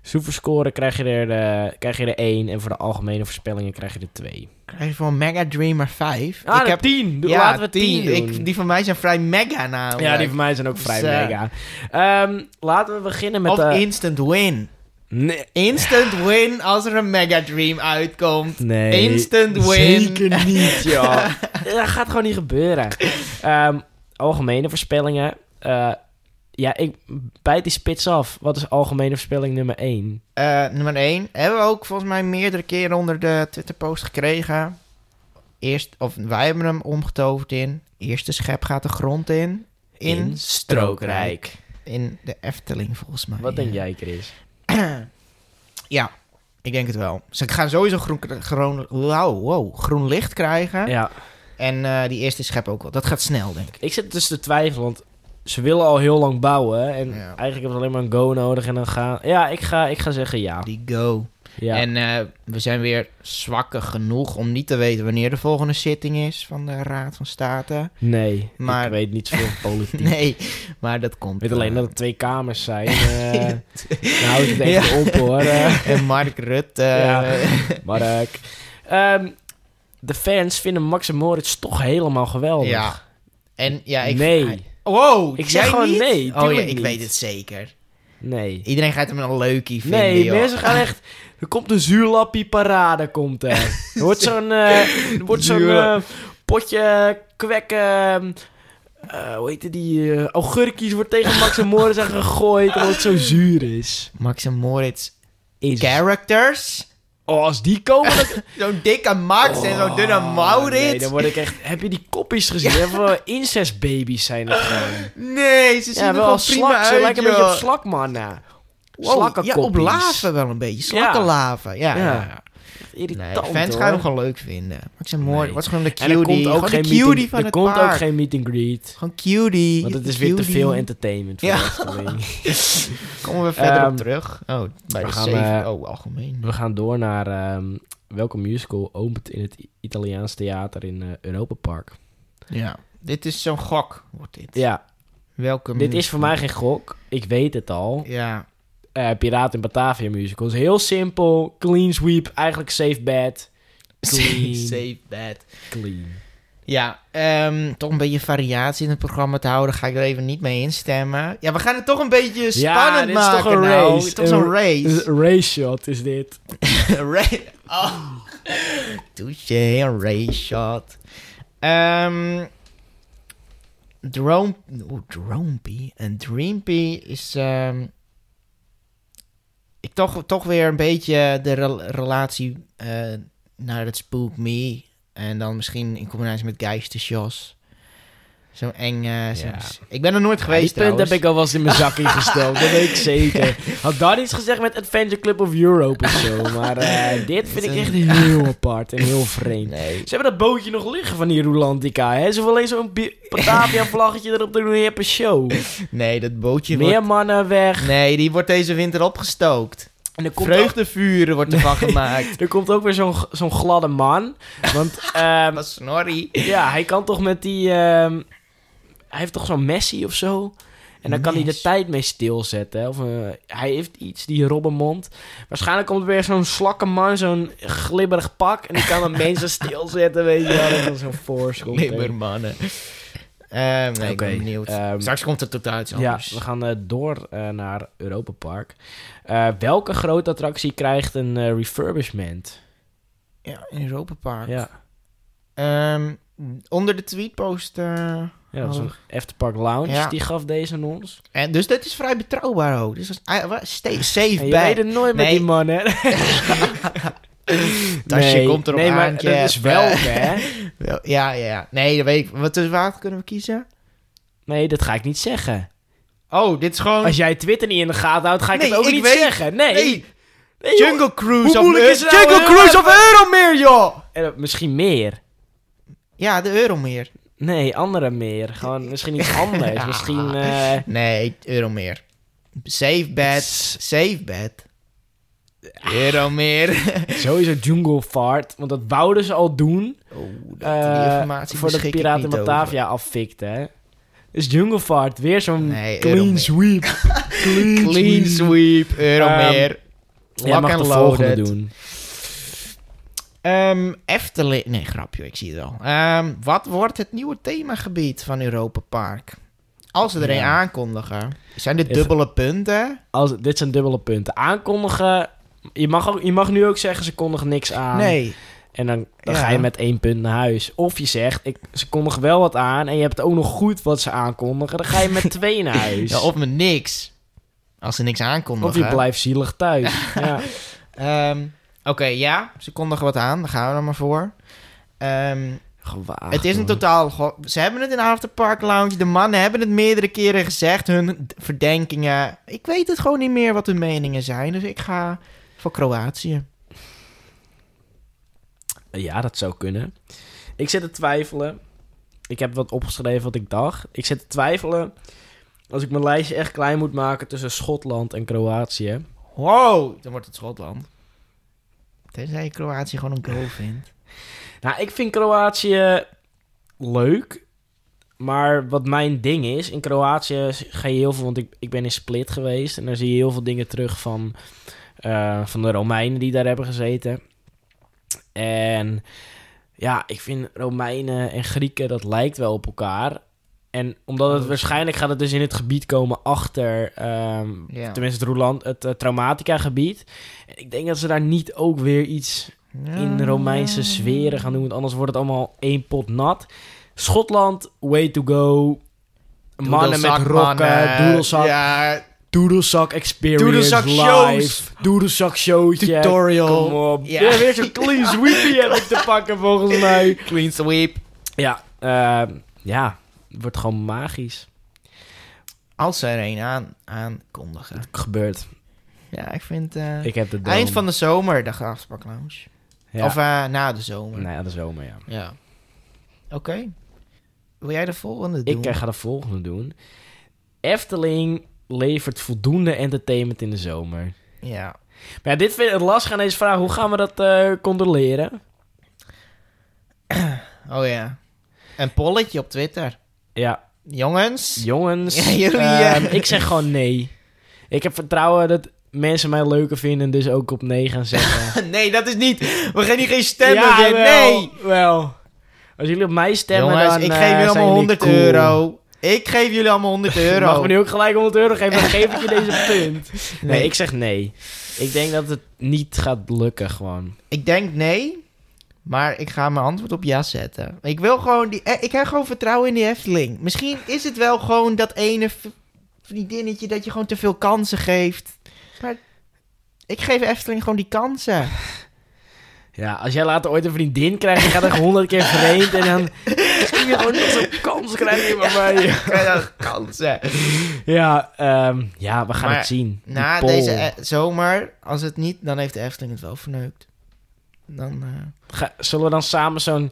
Speaker 1: Superscoren krijg je er, eh, krijg je er één. En voor de algemene voorspellingen krijg je er twee.
Speaker 2: Krijg je voor Mega Dreamer 5?
Speaker 1: Ah, ik heb tien. Doe-
Speaker 2: ja,
Speaker 1: Laten we tien,
Speaker 2: die,
Speaker 1: doen.
Speaker 2: ik, die van mij zijn vrij mega namelijk.
Speaker 1: ja, die van mij zijn ook vrij
Speaker 2: Dus, eh,
Speaker 1: mega. Ehm, laten we beginnen met...
Speaker 2: Of
Speaker 1: de-
Speaker 2: Instant Win.
Speaker 1: Nee.
Speaker 2: Instant Win als er een Mega Dream uitkomt.
Speaker 1: Nee,
Speaker 2: Instant win.
Speaker 1: Zeker niet, joh. dat gaat gewoon niet gebeuren. Ehm, algemene voorspellingen. Eh, ja, ik bijt die spits af. Wat is algemene voorspelling nummer 1?
Speaker 2: Eh, nummer 1. Hebben we ook volgens mij meerdere keren onder de Twitter-post gekregen. Eerst, of wij hebben hem omgetoverd in. Eerste schep gaat de grond in. In, In de Efteling volgens mij.
Speaker 1: Wat denk jij, Chris?
Speaker 2: Ja, ik denk het wel. Ze gaan sowieso groen, groen, wow, wow, groen licht krijgen.
Speaker 1: Ja,
Speaker 2: En eh, die eerste schep ook wel. Dat gaat snel, denk ik.
Speaker 1: ik zit dus te twijfelen, want ze willen al heel lang bouwen. En
Speaker 2: Ja.
Speaker 1: eigenlijk hebben ze alleen maar een go nodig en dan gaan... Ja, ik ga, ik ga zeggen ja.
Speaker 2: Die go.
Speaker 1: ja.
Speaker 2: En eh, we zijn weer zwakker genoeg om niet te weten wanneer de volgende zitting is van de Raad van State.
Speaker 1: nee, maar... ik
Speaker 2: Maar-
Speaker 1: weet niet veel van politiek.
Speaker 2: Nee, maar dat komt. eh,
Speaker 1: Ik weet alleen
Speaker 2: wel.
Speaker 1: dat het twee kamers zijn. eh nou, houdt het echt op, hoor. eh.
Speaker 2: En Mark Rutte.
Speaker 1: Ja.
Speaker 2: eh,
Speaker 1: Mark. Ehm, de fans vinden Max en Moritz toch helemaal geweldig.
Speaker 2: ja. En ja, ik.
Speaker 1: nee.
Speaker 2: Wow,
Speaker 1: Ik zeg
Speaker 2: jij
Speaker 1: gewoon
Speaker 2: niet?
Speaker 1: nee,
Speaker 2: Oh ja,
Speaker 1: tuurlijk
Speaker 2: ik
Speaker 1: niet.
Speaker 2: weet het zeker.
Speaker 1: Nee.
Speaker 2: Iedereen gaat hem een leukie vinden.
Speaker 1: Nee,
Speaker 2: joh.
Speaker 1: mensen gaan echt... Er komt een zuurlappie parade, komt er. Er wordt zo'n... eh, er wordt zo'n eh,
Speaker 2: Zuurlap-
Speaker 1: potje kwek... ehm, eh, hoe heet het die? eh augurkies wordt tegen Max en Moritz aan gegooid omdat het zo zuur is.
Speaker 2: Max en Moritz
Speaker 1: is.
Speaker 2: characters.
Speaker 1: Oh, als die komen... Dan...
Speaker 2: Zo'n dikke Max en zo'n dunne
Speaker 1: Oh,
Speaker 2: Maurits.
Speaker 1: Nee, dan word ik echt... Heb je die kopjes gezien? Even incestbabies zijn het gewoon.
Speaker 2: Nee, ze zien
Speaker 1: Ja,
Speaker 2: er
Speaker 1: wel
Speaker 2: wel
Speaker 1: als
Speaker 2: prima
Speaker 1: slak. Ze
Speaker 2: uit,
Speaker 1: lijken een beetje
Speaker 2: joh.
Speaker 1: op slakmannen.
Speaker 2: Wow, Ja, op
Speaker 1: slakkenkoppies.
Speaker 2: lava wel een beetje. Slakkenlava. Ja.
Speaker 1: Ja.
Speaker 2: ja. Nee,
Speaker 1: Irritant,
Speaker 2: de fans
Speaker 1: hoor.
Speaker 2: gaan hem gewoon leuk vinden. Max en Moritz.
Speaker 1: Nee.
Speaker 2: Wat is gewoon de
Speaker 1: En er
Speaker 2: cutie.
Speaker 1: komt ook
Speaker 2: Gewoon
Speaker 1: geen
Speaker 2: de cutie
Speaker 1: meet
Speaker 2: van
Speaker 1: and, er
Speaker 2: het
Speaker 1: komt ook
Speaker 2: park.
Speaker 1: geen meet and greet.
Speaker 2: Gewoon cutie.
Speaker 1: Want het
Speaker 2: de
Speaker 1: is weer te
Speaker 2: cutie.
Speaker 1: veel entertainment voor
Speaker 2: Ja.
Speaker 1: de Efteling.
Speaker 2: Komen we verder
Speaker 1: Ehm,
Speaker 2: op terug. Oh, bij
Speaker 1: we
Speaker 2: de
Speaker 1: gaan,
Speaker 2: zeven.
Speaker 1: eh,
Speaker 2: oh, algemeen.
Speaker 1: We gaan door naar ehm, welke musical opent in het I- Italiaans theater in eh, Europa Park.
Speaker 2: Ja. Dit is zo'n gok, wordt dit.
Speaker 1: Ja,
Speaker 2: Welke
Speaker 1: dit
Speaker 2: muziek?
Speaker 1: is voor mij geen gok. Ik weet het al.
Speaker 2: Ja.
Speaker 1: Eh Piraten in Batavia musical. is heel simpel. Clean sweep. Eigenlijk safe bed. Clean.
Speaker 2: Save that.
Speaker 1: Clean.
Speaker 2: Ja, ehm, toch een beetje variatie in het programma te houden. Ga ik er even niet mee instemmen. Ja, we gaan het toch een beetje
Speaker 1: Ja,
Speaker 2: spannend
Speaker 1: dit is
Speaker 2: maken.
Speaker 1: toch een
Speaker 2: nou.
Speaker 1: race.
Speaker 2: Toch zo'n
Speaker 1: Een
Speaker 2: race.
Speaker 1: Race shot is dit.
Speaker 2: Een race. Oh. Touché, een race shot. Ehm drone. oh, Oeh, Dronepie. En Dreampie is. ehm, ik toch, toch weer een beetje de rel- relatie eh, naar het Spook Me. En dan misschien in combinatie met Geistershows. Zo'n eng. eh, zo'n-
Speaker 1: Ja.
Speaker 2: Ik ben er nooit
Speaker 1: Ja,
Speaker 2: geweest.
Speaker 1: Die punt
Speaker 2: trouwens.
Speaker 1: heb ik al wel eens in mijn zak ingesteld. dat weet ik zeker. Had daar iets gezegd met Adventure Club of Europe of zo. Maar eh, dit vind ik echt heel apart en heel vreemd.
Speaker 2: Nee.
Speaker 1: Ze hebben dat bootje nog liggen van die Rolandica, hè? Ze willen alleen zo'n bi- Batavia-vlaggetje erop doen en je hebt een show.
Speaker 2: nee, dat bootje wordt.
Speaker 1: Meer mannen weg.
Speaker 2: Nee, die wordt deze winter opgestookt.
Speaker 1: En er komt, ook,
Speaker 2: Vreugdevuren wordt ervan gemaakt.
Speaker 1: er komt ook weer zo'n zo'n gladde man. Want ehm,
Speaker 2: Maar snorri.
Speaker 1: ja, hij kan toch met die... ehm, hij heeft toch zo'n Messi of zo? En dan kan hij de
Speaker 2: Mes.
Speaker 1: tijd mee stilzetten. Of, eh, hij heeft iets, die robbenmond. Waarschijnlijk komt er weer zo'n slakkenman, zo'n glibberig pak. En die kan dan mensen stilzetten, weet je wel. Dat is zo'n voorschot. hè.
Speaker 2: Limmermannen. Ehm, nee, ik
Speaker 1: Oké,
Speaker 2: ben benieuwd.
Speaker 1: ehm,
Speaker 2: Straks komt het totaal iets
Speaker 1: Ja,
Speaker 2: anders.
Speaker 1: we gaan eh, door eh, naar Europa Park. Eh, welke grote attractie krijgt een eh, refurbishment?
Speaker 2: Ja, in Europa Park.
Speaker 1: Ja,
Speaker 2: Ehm, onder de tweetpost. eh
Speaker 1: ja dat is een Afterpark Lounge.
Speaker 2: Ja.
Speaker 1: Die gaf deze aan ons.
Speaker 2: en, dus dat is vrij betrouwbaar ook. Dus dat is, ah, wa- stay safe
Speaker 1: En je weet
Speaker 2: bij.
Speaker 1: het nooit met
Speaker 2: Nee.
Speaker 1: die man, hè?
Speaker 2: Tasje komt erop
Speaker 1: nee,
Speaker 2: aan,
Speaker 1: maar dat is
Speaker 2: Jeff.
Speaker 1: wel, hè?
Speaker 2: Wel, Ja, ja, ja. Nee, dat weet ik. Wat dus waar kunnen we kiezen?
Speaker 1: Nee, dat ga ik niet zeggen.
Speaker 2: Oh, dit is gewoon.
Speaker 1: Als jij Twitter niet in de gaten houdt, ga ik
Speaker 2: Nee,
Speaker 1: het ook
Speaker 2: ik
Speaker 1: niet
Speaker 2: weet-
Speaker 1: zeggen. Nee.
Speaker 2: nee,
Speaker 1: Nee, joh.
Speaker 2: Jungle Cruise
Speaker 1: Hoe
Speaker 2: of
Speaker 1: moeilijk
Speaker 2: Eu-
Speaker 1: is het nou,
Speaker 2: Jungle
Speaker 1: hè?
Speaker 2: Cruise of Euromeer, joh!
Speaker 1: Eh, misschien meer.
Speaker 2: Ja, de Euromeer.
Speaker 1: Nee, andere meer. Gewoon misschien iets anders.
Speaker 2: Ja.
Speaker 1: Misschien... eh,
Speaker 2: Nee, Euromeer. Safe bed. Safe bed. Euromeer.
Speaker 1: Sowieso Jungle Fart, want dat wouden ze al doen
Speaker 2: Oh, dat, die
Speaker 1: eh,
Speaker 2: informatie
Speaker 1: voordat
Speaker 2: beschik ik
Speaker 1: Piraten
Speaker 2: niet over.
Speaker 1: Batavia affikte. hè. Dus Jungle Fart, weer zo'n
Speaker 2: Nee,
Speaker 1: clean
Speaker 2: Euromeer.
Speaker 1: sweep. clean, Ehm,
Speaker 2: Clean sweep, Euromeer.
Speaker 1: Jij mag
Speaker 2: and
Speaker 1: de volgende
Speaker 2: loaded.
Speaker 1: doen.
Speaker 2: Ehm, Efteling... Nee, grapje, ik zie het al. Ehm, wat wordt het nieuwe themagebied van Europa Park? Als ze er een
Speaker 1: Ja.
Speaker 2: aankondigen. Zijn dit
Speaker 1: Even-
Speaker 2: dubbele punten?
Speaker 1: Als, dit zijn dubbele punten. Aankondigen... Je mag, ook, je mag nu ook zeggen, ze kondigen niks aan.
Speaker 2: Nee.
Speaker 1: En dan, dan
Speaker 2: Ja.
Speaker 1: ga je met één punt naar huis. Of je zegt, ik, ze kondigen wel wat aan en je hebt ook nog goed wat ze aankondigen. Dan ga je met twee naar huis.
Speaker 2: Ja,
Speaker 1: of,
Speaker 2: of met niks. Als ze niks aankondigen.
Speaker 1: je blijft zielig thuis. ja.
Speaker 2: Ehm, Oké, ja, ze kondigen wat aan. Daar gaan we dan maar voor. Ehm,
Speaker 1: Gewaagd,
Speaker 2: het is een
Speaker 1: hoor.
Speaker 2: totaal... go- Ze hebben het in de Afterpark Lounge. De mannen hebben het meerdere keren gezegd. Hun d- verdenkingen. Ik weet het gewoon niet meer wat hun meningen zijn. Dus ik ga voor Kroatië.
Speaker 1: Ja, dat zou kunnen. Ik zit te twijfelen. Ik heb wat opgeschreven wat ik dacht. Ik zit te twijfelen. Als ik mijn lijstje echt klein moet maken tussen Schotland en Kroatië.
Speaker 2: Wow, dan wordt het Schotland. Tenzij je Kroatië gewoon een goal vindt.
Speaker 1: Nou, ik vind Kroatië leuk. Maar wat mijn ding is, in Kroatië ga je heel veel, want ik, ik ben in Split geweest. En daar zie je heel veel dingen terug van, eh, van de Romeinen die daar hebben gezeten. En ja, ik vind Romeinen en Grieken, dat lijkt wel op elkaar. En omdat het waarschijnlijk gaat het dus in het gebied komen achter, ehm,
Speaker 2: Ja.
Speaker 1: tenminste het, Roeland, het eh, traumatica gebied. En ik denk dat ze daar niet ook weer iets
Speaker 2: Ah.
Speaker 1: in Romeinse sferen gaan doen. Want anders wordt het allemaal één pot nat. Schotland, way to go. Mannen met rokken, doedelzak,
Speaker 2: Ja,
Speaker 1: doedelzak experience
Speaker 2: Doedelzak
Speaker 1: live.
Speaker 2: shows.
Speaker 1: Doedelzak showtje.
Speaker 2: Tutorial.
Speaker 1: Kom op.
Speaker 2: Ja.
Speaker 1: Ja, weer zo'n clean sweepie heb ik te pakken volgens mij.
Speaker 2: clean sweep.
Speaker 1: Ja, eh, ja. Het wordt gewoon magisch.
Speaker 2: Als ze er een aan, aankondigen.
Speaker 1: Gebeurt.
Speaker 2: Ja, ik vind... eh,
Speaker 1: Ik heb de droom.
Speaker 2: eind van de zomer, de Graafspark Lounge.
Speaker 1: Ja.
Speaker 2: Of eh, na de zomer.
Speaker 1: Nou ja, de zomer, ja.
Speaker 2: Ja. Oké. Wil jij de volgende doen?
Speaker 1: Ik eh, ga de volgende doen. Efteling levert voldoende entertainment in de zomer.
Speaker 2: Ja.
Speaker 1: Maar ja, dit vind ik lastig aan deze vraag. Hoe gaan we dat eh, controleren?
Speaker 2: Oh ja. Een polletje op Twitter.
Speaker 1: Ja,
Speaker 2: Jongens.
Speaker 1: jongens.
Speaker 2: Ja, jullie,
Speaker 1: ehm,
Speaker 2: eh.
Speaker 1: Ik zeg gewoon nee. Ik heb vertrouwen dat mensen mij leuker vinden en dus ook op nee gaan zeggen.
Speaker 2: nee, dat is niet... We gaan hier geen stemmen
Speaker 1: Ja,
Speaker 2: winnen.
Speaker 1: wel,
Speaker 2: Nee.
Speaker 1: wel. Als jullie op mij stemmen,
Speaker 2: Jongens,
Speaker 1: dan
Speaker 2: ik
Speaker 1: eh,
Speaker 2: geef jullie
Speaker 1: zijn
Speaker 2: allemaal 100
Speaker 1: cool.
Speaker 2: euro. Ik geef jullie allemaal 100 euro.
Speaker 1: Mag me nu ook gelijk 100 euro geven, dan geef ik je deze punt. Nee,
Speaker 2: Nee.
Speaker 1: ik zeg nee. Ik denk dat het niet gaat lukken gewoon.
Speaker 2: Ik denk nee, maar ik ga mijn antwoord op ja zetten. Ik wil gewoon die... eh, Ik heb gewoon vertrouwen in die Efteling. Misschien is het wel gewoon dat ene v- vriendinnetje dat je gewoon te veel kansen geeft. Maar ik geef Efteling gewoon die kansen.
Speaker 1: Ja, als jij later ooit een vriendin krijgt, dan gaat er honderd keer vreemd en dan... Kun je gewoon niet zo'n kans krijgen bij mij.
Speaker 2: Ik krijg dan kansen.
Speaker 1: Ja, ehm, ja we gaan
Speaker 2: Maar
Speaker 1: het zien. Die
Speaker 2: Na
Speaker 1: poll.
Speaker 2: deze eh, zomer, als het niet, dan heeft de Efteling het wel verneukt. Dan... eh,
Speaker 1: Ga- zullen we dan samen zo'n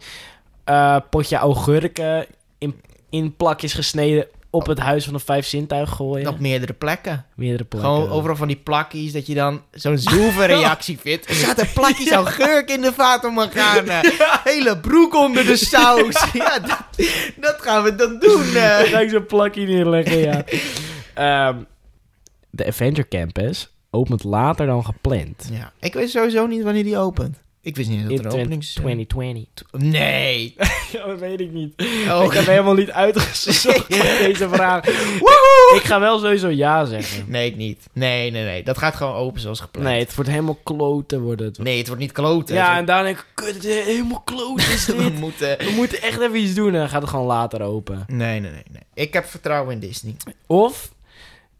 Speaker 1: eh, potje augurken in, in plakjes gesneden op het huis van de vijf zintuigen gooien?
Speaker 2: Op meerdere plekken.
Speaker 1: Meerdere plakken.
Speaker 2: Gewoon overal van die plakkies, dat je dan zo'n zoeve reactie vindt. Er zaten plakkies aan geurk in de Fata Morgana. eh, Hele broek onder de saus. ja, dat, dat gaan we dan doen.
Speaker 1: Dan
Speaker 2: eh.
Speaker 1: ga ik zo'n plakje neerleggen, ja. Ehm, de Avenger Campus opent later dan gepland.
Speaker 2: Ja, ik weet sowieso niet wanneer die opent. Ik wist niet dat
Speaker 1: in
Speaker 2: er een openings...
Speaker 1: 2020.
Speaker 2: Nee!
Speaker 1: Ja, dat weet ik niet. Ik
Speaker 2: Oh.
Speaker 1: heb helemaal niet uitgezocht met deze vraag. Ik ga wel sowieso ja zeggen.
Speaker 2: Nee, ik niet. Nee, nee, nee. Dat gaat gewoon open zoals gepland.
Speaker 1: Nee, het wordt helemaal kloten worden het.
Speaker 2: Nee, het wordt niet kloten.
Speaker 1: Ja,
Speaker 2: Het
Speaker 1: en daarna denk ik, kut, het is helemaal kloten is
Speaker 2: wordt-
Speaker 1: dit.
Speaker 2: we moeten...
Speaker 1: We moeten echt even iets doen en dan gaat het gewoon later open.
Speaker 2: Nee, nee, nee, nee. Ik heb vertrouwen in Disney.
Speaker 1: Of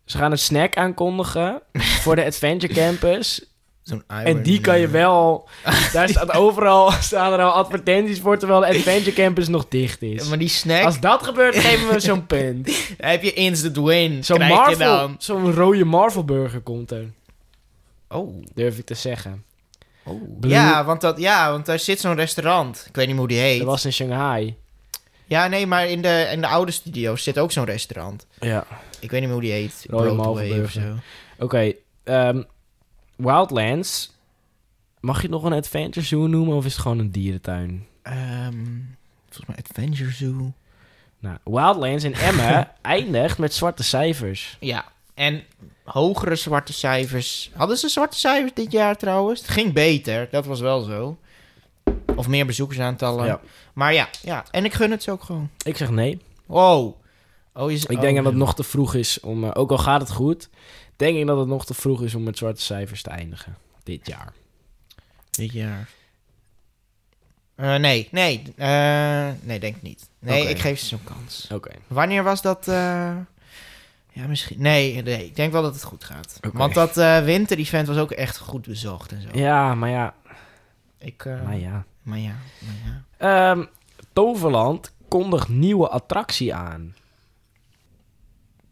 Speaker 1: ze gaan een snack aankondigen voor de Adventure Campus.
Speaker 2: Zo'n
Speaker 1: En die kan je wel. Daar staat overal staan er al advertenties voor terwijl de Adventure Campus nog dicht is.
Speaker 2: Maar die snack,
Speaker 1: Als dat gebeurt, geven we zo'n punt.
Speaker 2: heb je instant win.
Speaker 1: Zo'n
Speaker 2: Krijg je
Speaker 1: Marvel,
Speaker 2: dan.
Speaker 1: zo'n rode Marvel burger komt er,
Speaker 2: Oh,
Speaker 1: durf ik te zeggen.
Speaker 2: oh.
Speaker 1: Blue-
Speaker 2: Ja, want dat, ja, want daar zit zo'n restaurant. Ik weet niet hoe die heet.
Speaker 1: Dat was in Shanghai.
Speaker 2: Ja, nee, maar in de, in de oude studio's zit ook zo'n restaurant.
Speaker 1: Ja.
Speaker 2: Ik weet niet meer hoe die heet.
Speaker 1: Royal
Speaker 2: Broadway of
Speaker 1: Malverburger.
Speaker 2: zo.
Speaker 1: Oké, ehm, Wildlands. Mag je het nog een Adventure Zoo noemen of is het gewoon een dierentuin?
Speaker 2: Ehm, volgens mij Adventure Zoo.
Speaker 1: Nou, Wildlands in Emmen eindigt met zwarte cijfers.
Speaker 2: Ja, en hogere zwarte cijfers. Hadden ze zwarte cijfers dit jaar trouwens? Het ging beter, dat was wel zo. Of meer bezoekersaantallen.
Speaker 1: Ja.
Speaker 2: Maar ja, ja, en ik gun het ze ook gewoon.
Speaker 1: Ik zeg nee.
Speaker 2: Wow. Oh, is,
Speaker 1: Ik
Speaker 2: oh,
Speaker 1: denk dat het nog te vroeg is om, eh, ook al gaat het goed, denk ik dat het nog te vroeg is om met zwarte cijfers te eindigen. Dit jaar.
Speaker 2: Dit jaar. Eh, nee, nee. eh, nee, denk ik niet. Nee,
Speaker 1: Oké.
Speaker 2: ik geef ze zo'n kans.
Speaker 1: Oké.
Speaker 2: Wanneer was dat? eh, Ja, misschien. Nee, nee, ik denk wel dat het goed gaat.
Speaker 1: Oké.
Speaker 2: Want dat eh winter-event was ook echt goed bezocht en zo.
Speaker 1: Ja, maar ja.
Speaker 2: Ik, eh,
Speaker 1: Maar ja.
Speaker 2: Maar ja, maar ja.
Speaker 1: Ehm, Toverland kondigt nieuwe attractie aan.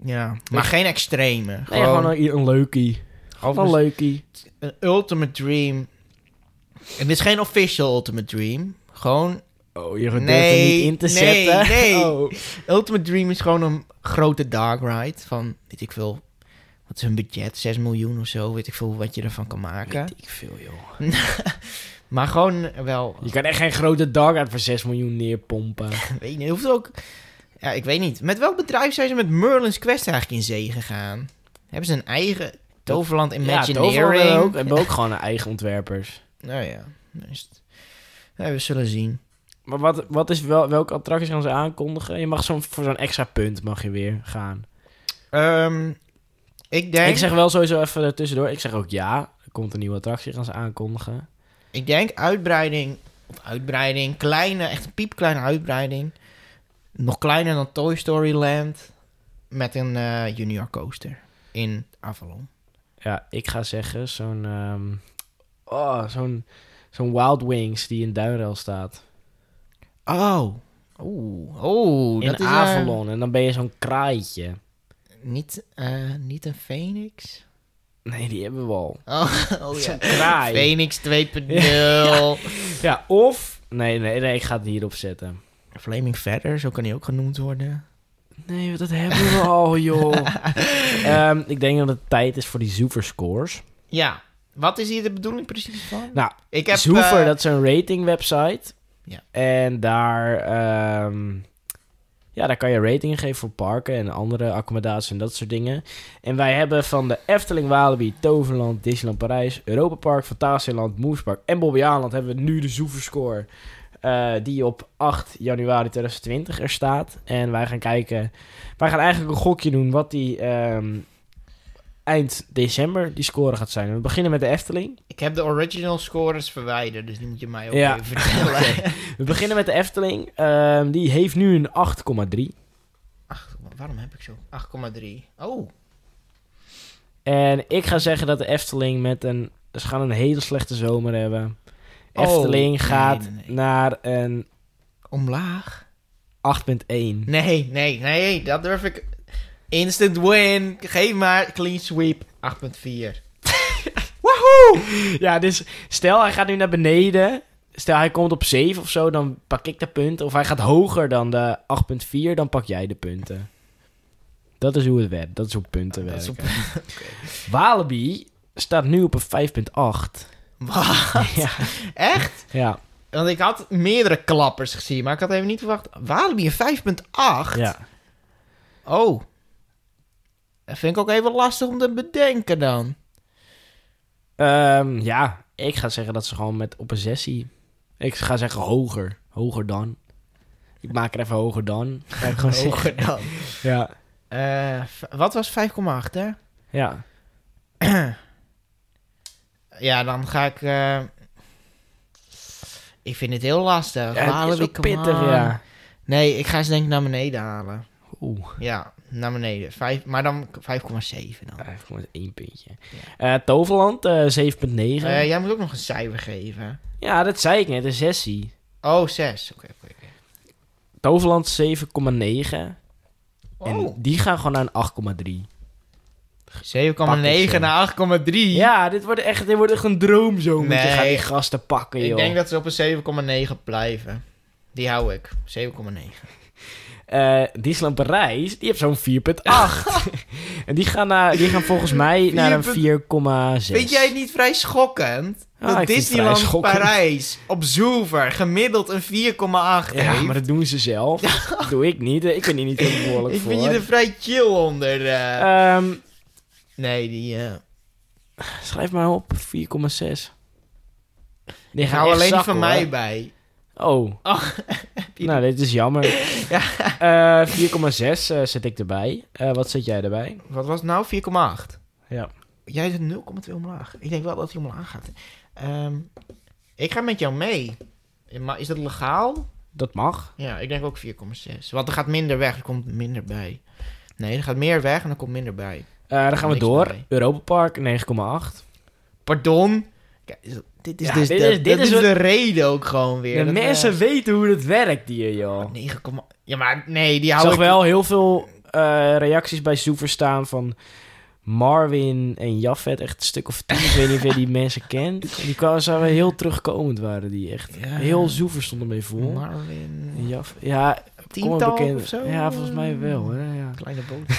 Speaker 2: Ja, maar geen extreme.
Speaker 1: Nee,
Speaker 2: Gewoon,
Speaker 1: gewoon een, een leukie.
Speaker 2: gewoon
Speaker 1: Een
Speaker 2: een,
Speaker 1: leukie.
Speaker 2: ultimate dream. Het is geen official ultimate dream. Gewoon,
Speaker 1: Oh, je durft er
Speaker 2: Nee,
Speaker 1: niet in te
Speaker 2: nee,
Speaker 1: zetten.
Speaker 2: nee.
Speaker 1: Oh.
Speaker 2: ultimate dream is gewoon een grote dark ride van, weet ik veel, wat is hun budget? 6 miljoen of zo, weet ik veel wat je ervan kan maken.
Speaker 1: Weet ik veel, joh.
Speaker 2: Maar gewoon eh, wel,
Speaker 1: Je kan echt geen grote dark uit voor 6 miljoen neerpompen.
Speaker 2: ik weet niet, hoeft ook, ja, ik weet niet. Met welk bedrijf zijn ze met Merlin's Quest eigenlijk in zee gegaan? Hebben ze een eigen Toverland Imagineering?
Speaker 1: Ja, Toverland hebben ook, hebben ook gewoon eigen ontwerpers.
Speaker 2: Nou ja, dan is het- ja, we zullen zien.
Speaker 1: Maar wat, wat is wel, welke attracties gaan ze aankondigen? Je mag zo'n, voor zo'n extra punt mag je weer gaan.
Speaker 2: Ehm, ik denk,
Speaker 1: Ik zeg wel sowieso even er tussendoor. Ik zeg ook ja. Er komt een nieuwe attractie, gaan ze aankondigen.
Speaker 2: ik denk uitbreiding, of uitbreiding, kleine, echt een piepkleine uitbreiding. Nog kleiner dan Toy Story Land met een eh, junior coaster in Avalon.
Speaker 1: Ja, ik ga zeggen zo'n... ehm, oh, zo'n, zo'n Wild Wings die in Duinrel staat.
Speaker 2: Oh, oeh, oeh,
Speaker 1: in
Speaker 2: dat is, eh,
Speaker 1: Avalon. En dan ben je zo'n kraaitje.
Speaker 2: niet, eh, niet een Phoenix.
Speaker 1: Nee, die hebben we al.
Speaker 2: Oh, oh ja.
Speaker 1: Zo'n kraai.
Speaker 2: Phoenix 2.0.
Speaker 1: Ja, of... Nee, nee, nee, ik ga het hierop zetten.
Speaker 2: Flaming Feather, zo kan hij ook genoemd worden.
Speaker 1: Nee, dat hebben we al, joh. Ehm, ik denk dat het tijd is voor die Zoever scores.
Speaker 2: Ja, wat is hier de bedoeling precies van?
Speaker 1: Nou,
Speaker 2: ik heb,
Speaker 1: Zoever,
Speaker 2: eh,
Speaker 1: dat is een rating website.
Speaker 2: Ja.
Speaker 1: En daar, ehm, ja, daar kan je ratingen geven voor parken en andere accommodaties en dat soort dingen. En wij hebben van de Efteling, Walibi, Toverland, Disneyland Parijs, Europa Park, Fantasieland, Moespark en Bobbejaanland hebben we nu de Zoever score. eh, die op 8 januari 2020 er staat. En wij gaan kijken. Wij gaan eigenlijk een gokje doen wat die ehm, eind december die score gaat zijn. We beginnen met de Efteling.
Speaker 2: Ik heb de original scores verwijderd, dus die moet je mij ook
Speaker 1: Ja.
Speaker 2: even vertellen.
Speaker 1: We beginnen met de Efteling. Ehm, die heeft nu een 8,3.
Speaker 2: Ach, waarom heb ik zo? 8,3. Oh.
Speaker 1: En ik ga zeggen dat de Efteling met een... Ze gaan een hele slechte zomer hebben.
Speaker 2: Oh,
Speaker 1: Efteling
Speaker 2: nee,
Speaker 1: gaat
Speaker 2: nee, nee.
Speaker 1: naar een
Speaker 2: Omlaag?
Speaker 1: 8,1.
Speaker 2: Nee, nee, nee, dat durf ik. Instant win. Geef maar. Clean sweep. 8,4.
Speaker 1: Ja, dus stel hij gaat nu naar beneden. Stel hij komt op 7 of zo, dan pak ik de punten. Of hij gaat hoger dan de 8,4, dan pak jij de punten. Dat is hoe het werkt. Dat is hoe punten
Speaker 2: Dat is
Speaker 1: werken.
Speaker 2: op-
Speaker 1: Walibi staat nu op een 5,8.
Speaker 2: Wat?
Speaker 1: Ja.
Speaker 2: Echt?
Speaker 1: Ja,
Speaker 2: Want ik had meerdere klappers gezien, maar ik had even niet verwacht. Walibi een 5,8?
Speaker 1: ja.
Speaker 2: Oh. Dat vind ik ook even lastig om te bedenken dan.
Speaker 1: Ehm, ja, ik ga zeggen dat ze gewoon met op een sessie. Ik ga zeggen hoger. Hoger dan. Ik maak er even hoger dan. Ga ik gewoon zeggen.
Speaker 2: Hoger dan.
Speaker 1: Ja.
Speaker 2: Eh, v- wat was 5,8 hè?
Speaker 1: Ja.
Speaker 2: Ja, dan ga ik... eh, ik vind het heel lastig.
Speaker 1: Ja, het is
Speaker 2: Halen we
Speaker 1: wel
Speaker 2: Come
Speaker 1: pittig,
Speaker 2: on.
Speaker 1: ja.
Speaker 2: Nee, ik ga ze denk ik naar beneden halen.
Speaker 1: Oeh.
Speaker 2: Ja, naar beneden. Vijf, maar dan 5,7 dan.
Speaker 1: Ja, Gewoon één puntje. Eh, Toverland, eh, 7,9.
Speaker 2: Eh, jij moet ook nog een cijfer geven.
Speaker 1: Ja, dat zei ik net, een sessie.
Speaker 2: Oh, 6. Oké, oké, oké.
Speaker 1: Toverland 7,9.
Speaker 2: Oh,
Speaker 1: En die gaan gewoon naar een 8,3.
Speaker 2: 7,9 naar 8,3.
Speaker 1: Ja, dit wordt echt, dit wordt echt een droom zo. moet Je
Speaker 2: Nee.
Speaker 1: gaat die gasten pakken, joh.
Speaker 2: Ik denk dat ze op een 7,9 blijven. Die hou ik. 7,9.
Speaker 1: Eh, Disneyland Parijs, die heeft zo'n 4,8. en die gaan, naar, die gaan volgens mij naar een 4,6.
Speaker 2: Vind jij het niet vrij schokkend?
Speaker 1: Ja,
Speaker 2: dat
Speaker 1: Dus. Ah, ik vind het
Speaker 2: Disneyland
Speaker 1: vrij schokkend.
Speaker 2: Parijs op Zoever gemiddeld een 4,8
Speaker 1: Ja,
Speaker 2: heeft.
Speaker 1: maar dat doen ze zelf. dat doe ik niet. Ik ben hier niet heel verantwoordelijk
Speaker 2: Ik
Speaker 1: voor.
Speaker 2: vind je er vrij chill onder. eh.
Speaker 1: Ehm,
Speaker 2: nee, die... eh
Speaker 1: schrijf maar op, 4,6. Die
Speaker 2: ik
Speaker 1: gaan
Speaker 2: hou
Speaker 1: echt
Speaker 2: alleen die
Speaker 1: zakken,
Speaker 2: van
Speaker 1: hoor.
Speaker 2: mij bij.
Speaker 1: Oh.
Speaker 2: die-
Speaker 1: nou, dit is jammer. Eh, 4,6 eh, zet ik erbij. Eh, wat zet jij erbij?
Speaker 2: Wat was het nou? 4,8?
Speaker 1: Ja.
Speaker 2: Jij zit 0,2 omlaag. Ik denk wel dat hij omlaag gaat. Ehm, ik ga met jou mee. Maar is dat legaal?
Speaker 1: Dat mag.
Speaker 2: Ja, ik denk ook 4,6. Want er gaat minder weg, er komt minder bij. Nee, er gaat meer weg en er komt minder bij.
Speaker 1: Eh, dan gaan we
Speaker 2: Niks
Speaker 1: door.
Speaker 2: bij.
Speaker 1: Europa Park 9,8.
Speaker 2: Pardon? Kijk, is- dit is,
Speaker 1: Ja,
Speaker 2: dus
Speaker 1: dit
Speaker 2: de,
Speaker 1: is- dit
Speaker 2: dit
Speaker 1: is
Speaker 2: is
Speaker 1: wat-
Speaker 2: de reden ook gewoon
Speaker 1: de
Speaker 2: weer. Dat, eh,
Speaker 1: mensen weten hoe het werkt hier, joh.
Speaker 2: 9, ja, maar nee, die
Speaker 1: Ik
Speaker 2: hou
Speaker 1: zag
Speaker 2: ik...
Speaker 1: wel heel veel eh, reacties bij Soever staan van Marvin en Jafet. Echt een stuk of tien. ik weet niet of je die mensen kent. En die kwamen, zouden heel terugkomend waren die echt.
Speaker 2: Ja.
Speaker 1: Heel Soever stonden mee vol. En
Speaker 2: Marvin...
Speaker 1: Jaf, ja, kom maar
Speaker 2: Tiental
Speaker 1: bekend.
Speaker 2: of zo?
Speaker 1: Ja, volgens mij wel. Hè, ja.
Speaker 2: Kleine boot.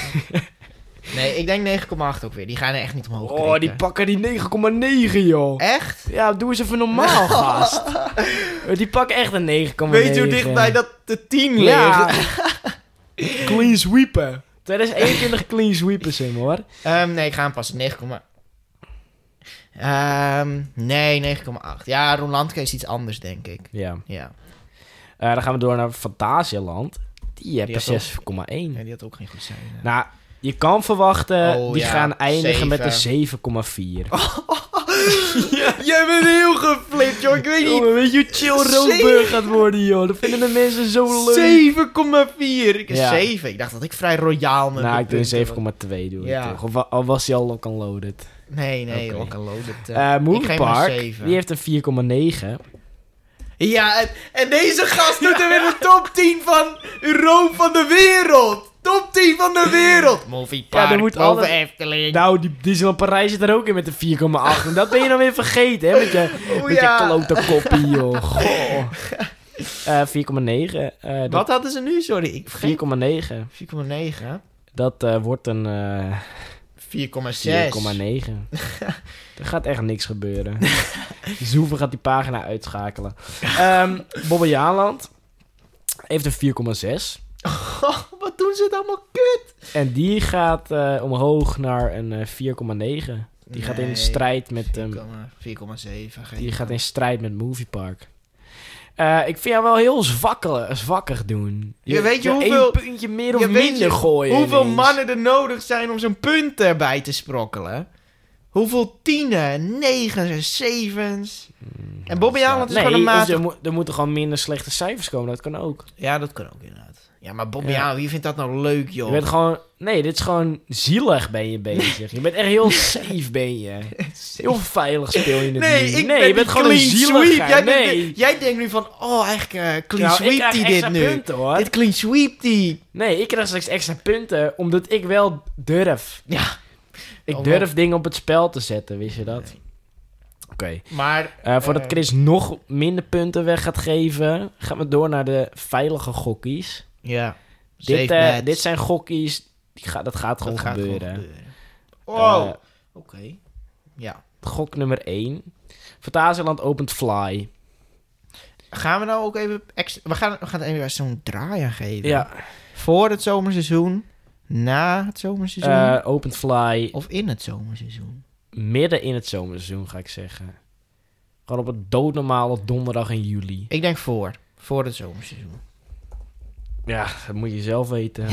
Speaker 2: nee, ik denk 9,8 ook weer. Die gaan er echt niet omhoog
Speaker 1: Oh, die
Speaker 2: krikken.
Speaker 1: pakken die 9,9, joh.
Speaker 2: Echt?
Speaker 1: Ja, doe eens even normaal, gast. Eh, Die pakken echt een 9,9.
Speaker 2: Weet je hoe dichtbij dat de 10 ligt?
Speaker 1: Ja. clean sweepen. 2021 clean sweepen, Sim, hoor.
Speaker 2: Ehm, nee, ik ga hem passen. 9, Ehm nee, 9,8. Ja, Rolandke is iets anders, denk ik.
Speaker 1: Ja.
Speaker 2: Ja,
Speaker 1: Eh, dan gaan we door naar Fantasialand. Die
Speaker 2: Die had
Speaker 1: hebben 6,1.
Speaker 2: nee, die had ook geen goed zijn. hè.
Speaker 1: Nou, je kan verwachten,
Speaker 2: Oh,
Speaker 1: die
Speaker 2: ja,
Speaker 1: gaan eindigen met een 7,4.
Speaker 2: Jij bent heel geflipt, joh. Ik weet
Speaker 1: Jongen, weet je hoe chill Roodburg gaat worden, joh. Dat vinden de mensen zo leuk.
Speaker 2: 7,4. Ik
Speaker 1: Ja.
Speaker 2: 7. Ik dacht dat ik vrij royaal met
Speaker 1: Nou,
Speaker 2: mijn
Speaker 1: ik doe
Speaker 2: punten
Speaker 1: een 7,2 doe ik
Speaker 2: Ja.
Speaker 1: toch. Of wa- al was hij al lock unloaded.
Speaker 2: was. Nee, nee,
Speaker 1: Oké.
Speaker 2: ook een loaded. eh.
Speaker 1: Eh
Speaker 2: ik
Speaker 1: Movie
Speaker 2: geef hem een
Speaker 1: Park,
Speaker 2: zeven.
Speaker 1: die heeft een 4,9.
Speaker 2: Ja, en, en deze gast doet er weer de top 10 van Europa van de wereld. Top 10 van de wereld. Movie
Speaker 1: Ja,
Speaker 2: Park,
Speaker 1: er moet
Speaker 2: boven
Speaker 1: alles-
Speaker 2: Efteling.
Speaker 1: Nou, die Disneyland Parijs zit er ook in met een 4,8. En dat ben je dan weer vergeten, hè? Met je,
Speaker 2: Oh,
Speaker 1: met
Speaker 2: ja.
Speaker 1: je klote koppie, joh. Goh. Eh, 4,9. eh, dat-
Speaker 2: Wat hadden ze nu? Sorry, ik vergeet.
Speaker 1: 4,9.
Speaker 2: 4,9. hè?
Speaker 1: Dat eh, wordt een eh 4,9.
Speaker 2: 4,6.
Speaker 1: er gaat echt niks gebeuren. Zoeven gaat die pagina uitschakelen. Ehm Bobbejaanland heeft een 4,6.
Speaker 2: Oh, wat doen ze het allemaal kut?
Speaker 1: En die gaat eh, omhoog naar een eh, 4,9. Die gaat in
Speaker 2: Nee,
Speaker 1: strijd met... ehm,
Speaker 2: 4,7.
Speaker 1: die gaat in strijd met Movie Park. Eh, ik vind jou wel heel zwakkele, zwakkig doen.
Speaker 2: Ja, weet je
Speaker 1: wil
Speaker 2: hoeveel-
Speaker 1: één puntje meer of
Speaker 2: Ja, weet
Speaker 1: minder
Speaker 2: je
Speaker 1: gooien.
Speaker 2: Hoeveel
Speaker 1: ineens.
Speaker 2: mannen er nodig zijn om zo'n punt erbij te sprokkelen? Hoeveel tienen, negens, zevens? En Bobby Haaland is
Speaker 1: nee,
Speaker 2: gewoon een
Speaker 1: of
Speaker 2: maat.
Speaker 1: Er, moet- er moeten gewoon minder slechte cijfers komen. Dat kan ook.
Speaker 2: Ja, dat kan ook inderdaad. Ja, maar Bobby
Speaker 1: Ja.
Speaker 2: Haaland, wie vindt dat nou leuk, joh?
Speaker 1: Je bent gewoon... Nee, dit is gewoon zielig ben je bezig. je bent echt heel safe ben je. Heel veilig speel je het
Speaker 2: Nee,
Speaker 1: niet.
Speaker 2: ik
Speaker 1: nee,
Speaker 2: ben
Speaker 1: je bent
Speaker 2: die
Speaker 1: gewoon een
Speaker 2: clean
Speaker 1: zielige.
Speaker 2: sweep. Jij,
Speaker 1: nee.
Speaker 2: denkt, jij denkt nu van, oh, eigenlijk eh, clean
Speaker 1: Nou, ik
Speaker 2: sweep
Speaker 1: krijg
Speaker 2: die
Speaker 1: extra
Speaker 2: dit nu.
Speaker 1: punten, hoor.
Speaker 2: Dit clean sweep die.
Speaker 1: Nee, ik krijg straks extra punten omdat ik wel durf.
Speaker 2: Ja.
Speaker 1: Ik
Speaker 2: Oh,
Speaker 1: durf dingen op het spel te zetten, wist je dat? Oké.
Speaker 2: Maar,
Speaker 1: Eh, voordat
Speaker 2: Eh.
Speaker 1: Chris nog minder punten weg gaat geven, gaan we door naar de veilige gokkies.
Speaker 2: ja.
Speaker 1: Dit,
Speaker 2: safe
Speaker 1: eh,
Speaker 2: bets.
Speaker 1: dit zijn gokkies. Die ga, dat gaat
Speaker 2: Dat
Speaker 1: gewoon
Speaker 2: gaat gewoon
Speaker 1: gebeuren.
Speaker 2: gebeuren. Oh,
Speaker 1: Eh,
Speaker 2: oké. Ja.
Speaker 1: gok nummer 1. Fantasieland opent Fly.
Speaker 2: Gaan we nou ook even... Extra, we, gaan, we gaan het even zo'n draai aan geven.
Speaker 1: Ja,
Speaker 2: Voor het zomerseizoen, na het zomerseizoen
Speaker 1: eh, opent Fly
Speaker 2: of in het zomerseizoen.
Speaker 1: midden in het zomerseizoen, ga ik zeggen. Gewoon op een doodnormale donderdag in juli.
Speaker 2: Ik denk voor. Voor het zomerseizoen.
Speaker 1: Ja, dat moet je zelf weten.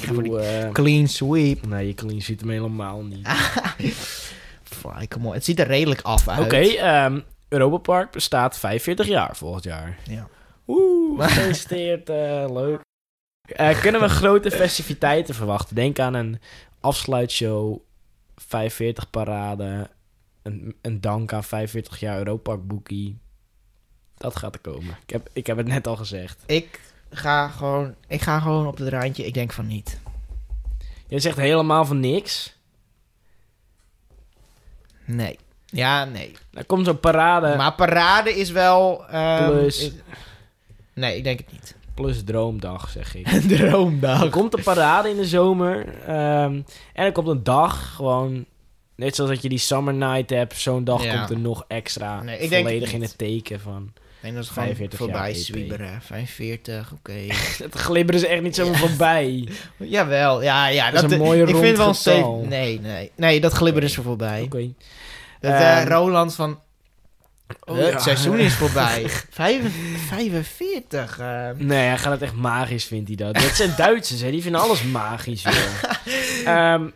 Speaker 1: ik bedoel, eh,
Speaker 2: Clean sweep.
Speaker 1: nee, je clean ziet hem helemaal niet.
Speaker 2: Fly, come on. Het ziet er redelijk af uit.
Speaker 1: Oké, ehm, Europa Park bestaat 45 jaar volgend jaar.
Speaker 2: Ja.
Speaker 1: Oeh, gefeliciteerd, eh, leuk. Eh, kunnen we grote festiviteiten verwachten? Denk aan een afsluitshow, 45 parade, een, een dank aan 45 jaar Europa Park boekie. Dat gaat er komen. Ik heb, ik heb het net al gezegd.
Speaker 2: Ik ga gewoon, ik ga gewoon op het randje. Ik denk van niet.
Speaker 1: Je zegt helemaal van niks.
Speaker 2: Nee. Ja, nee.
Speaker 1: Dan Nou, komt zo'n parade
Speaker 2: maar parade is wel. ehm,
Speaker 1: Plus.
Speaker 2: is- nee, ik denk het niet.
Speaker 1: plus droomdag, zeg ik.
Speaker 2: Een droomdag.
Speaker 1: Er komt een parade in de zomer. ehm, en er komt een dag gewoon. Net zoals dat je die summer night hebt, zo'n dag
Speaker 2: Ja.
Speaker 1: komt er nog extra.
Speaker 2: Nee, ik denk
Speaker 1: volledig
Speaker 2: het
Speaker 1: in
Speaker 2: niet.
Speaker 1: het teken van.
Speaker 2: Ik denk dat het gewoon
Speaker 1: 45 jaar
Speaker 2: voorbij
Speaker 1: EP.
Speaker 2: zwieberen. 45, oké.
Speaker 1: Het glibberen is echt niet zomaar voorbij.
Speaker 2: Jawel, ja, ja.
Speaker 1: Dat is een mooie
Speaker 2: ik
Speaker 1: rond
Speaker 2: vind wel een
Speaker 1: getal.
Speaker 2: safe- Nee, nee. Nee, dat glibberen is er voorbij.
Speaker 1: Oké.
Speaker 2: Dat eh,
Speaker 1: Ehm,
Speaker 2: Roland van...
Speaker 1: oh
Speaker 2: het
Speaker 1: ja.
Speaker 2: seizoen is voorbij. Vijf- 45. eh.
Speaker 1: Nee, hij gaat het echt magisch, vindt hij dat. Dat zijn Duitsers, hè? Die vinden alles magisch, joh. Ehm,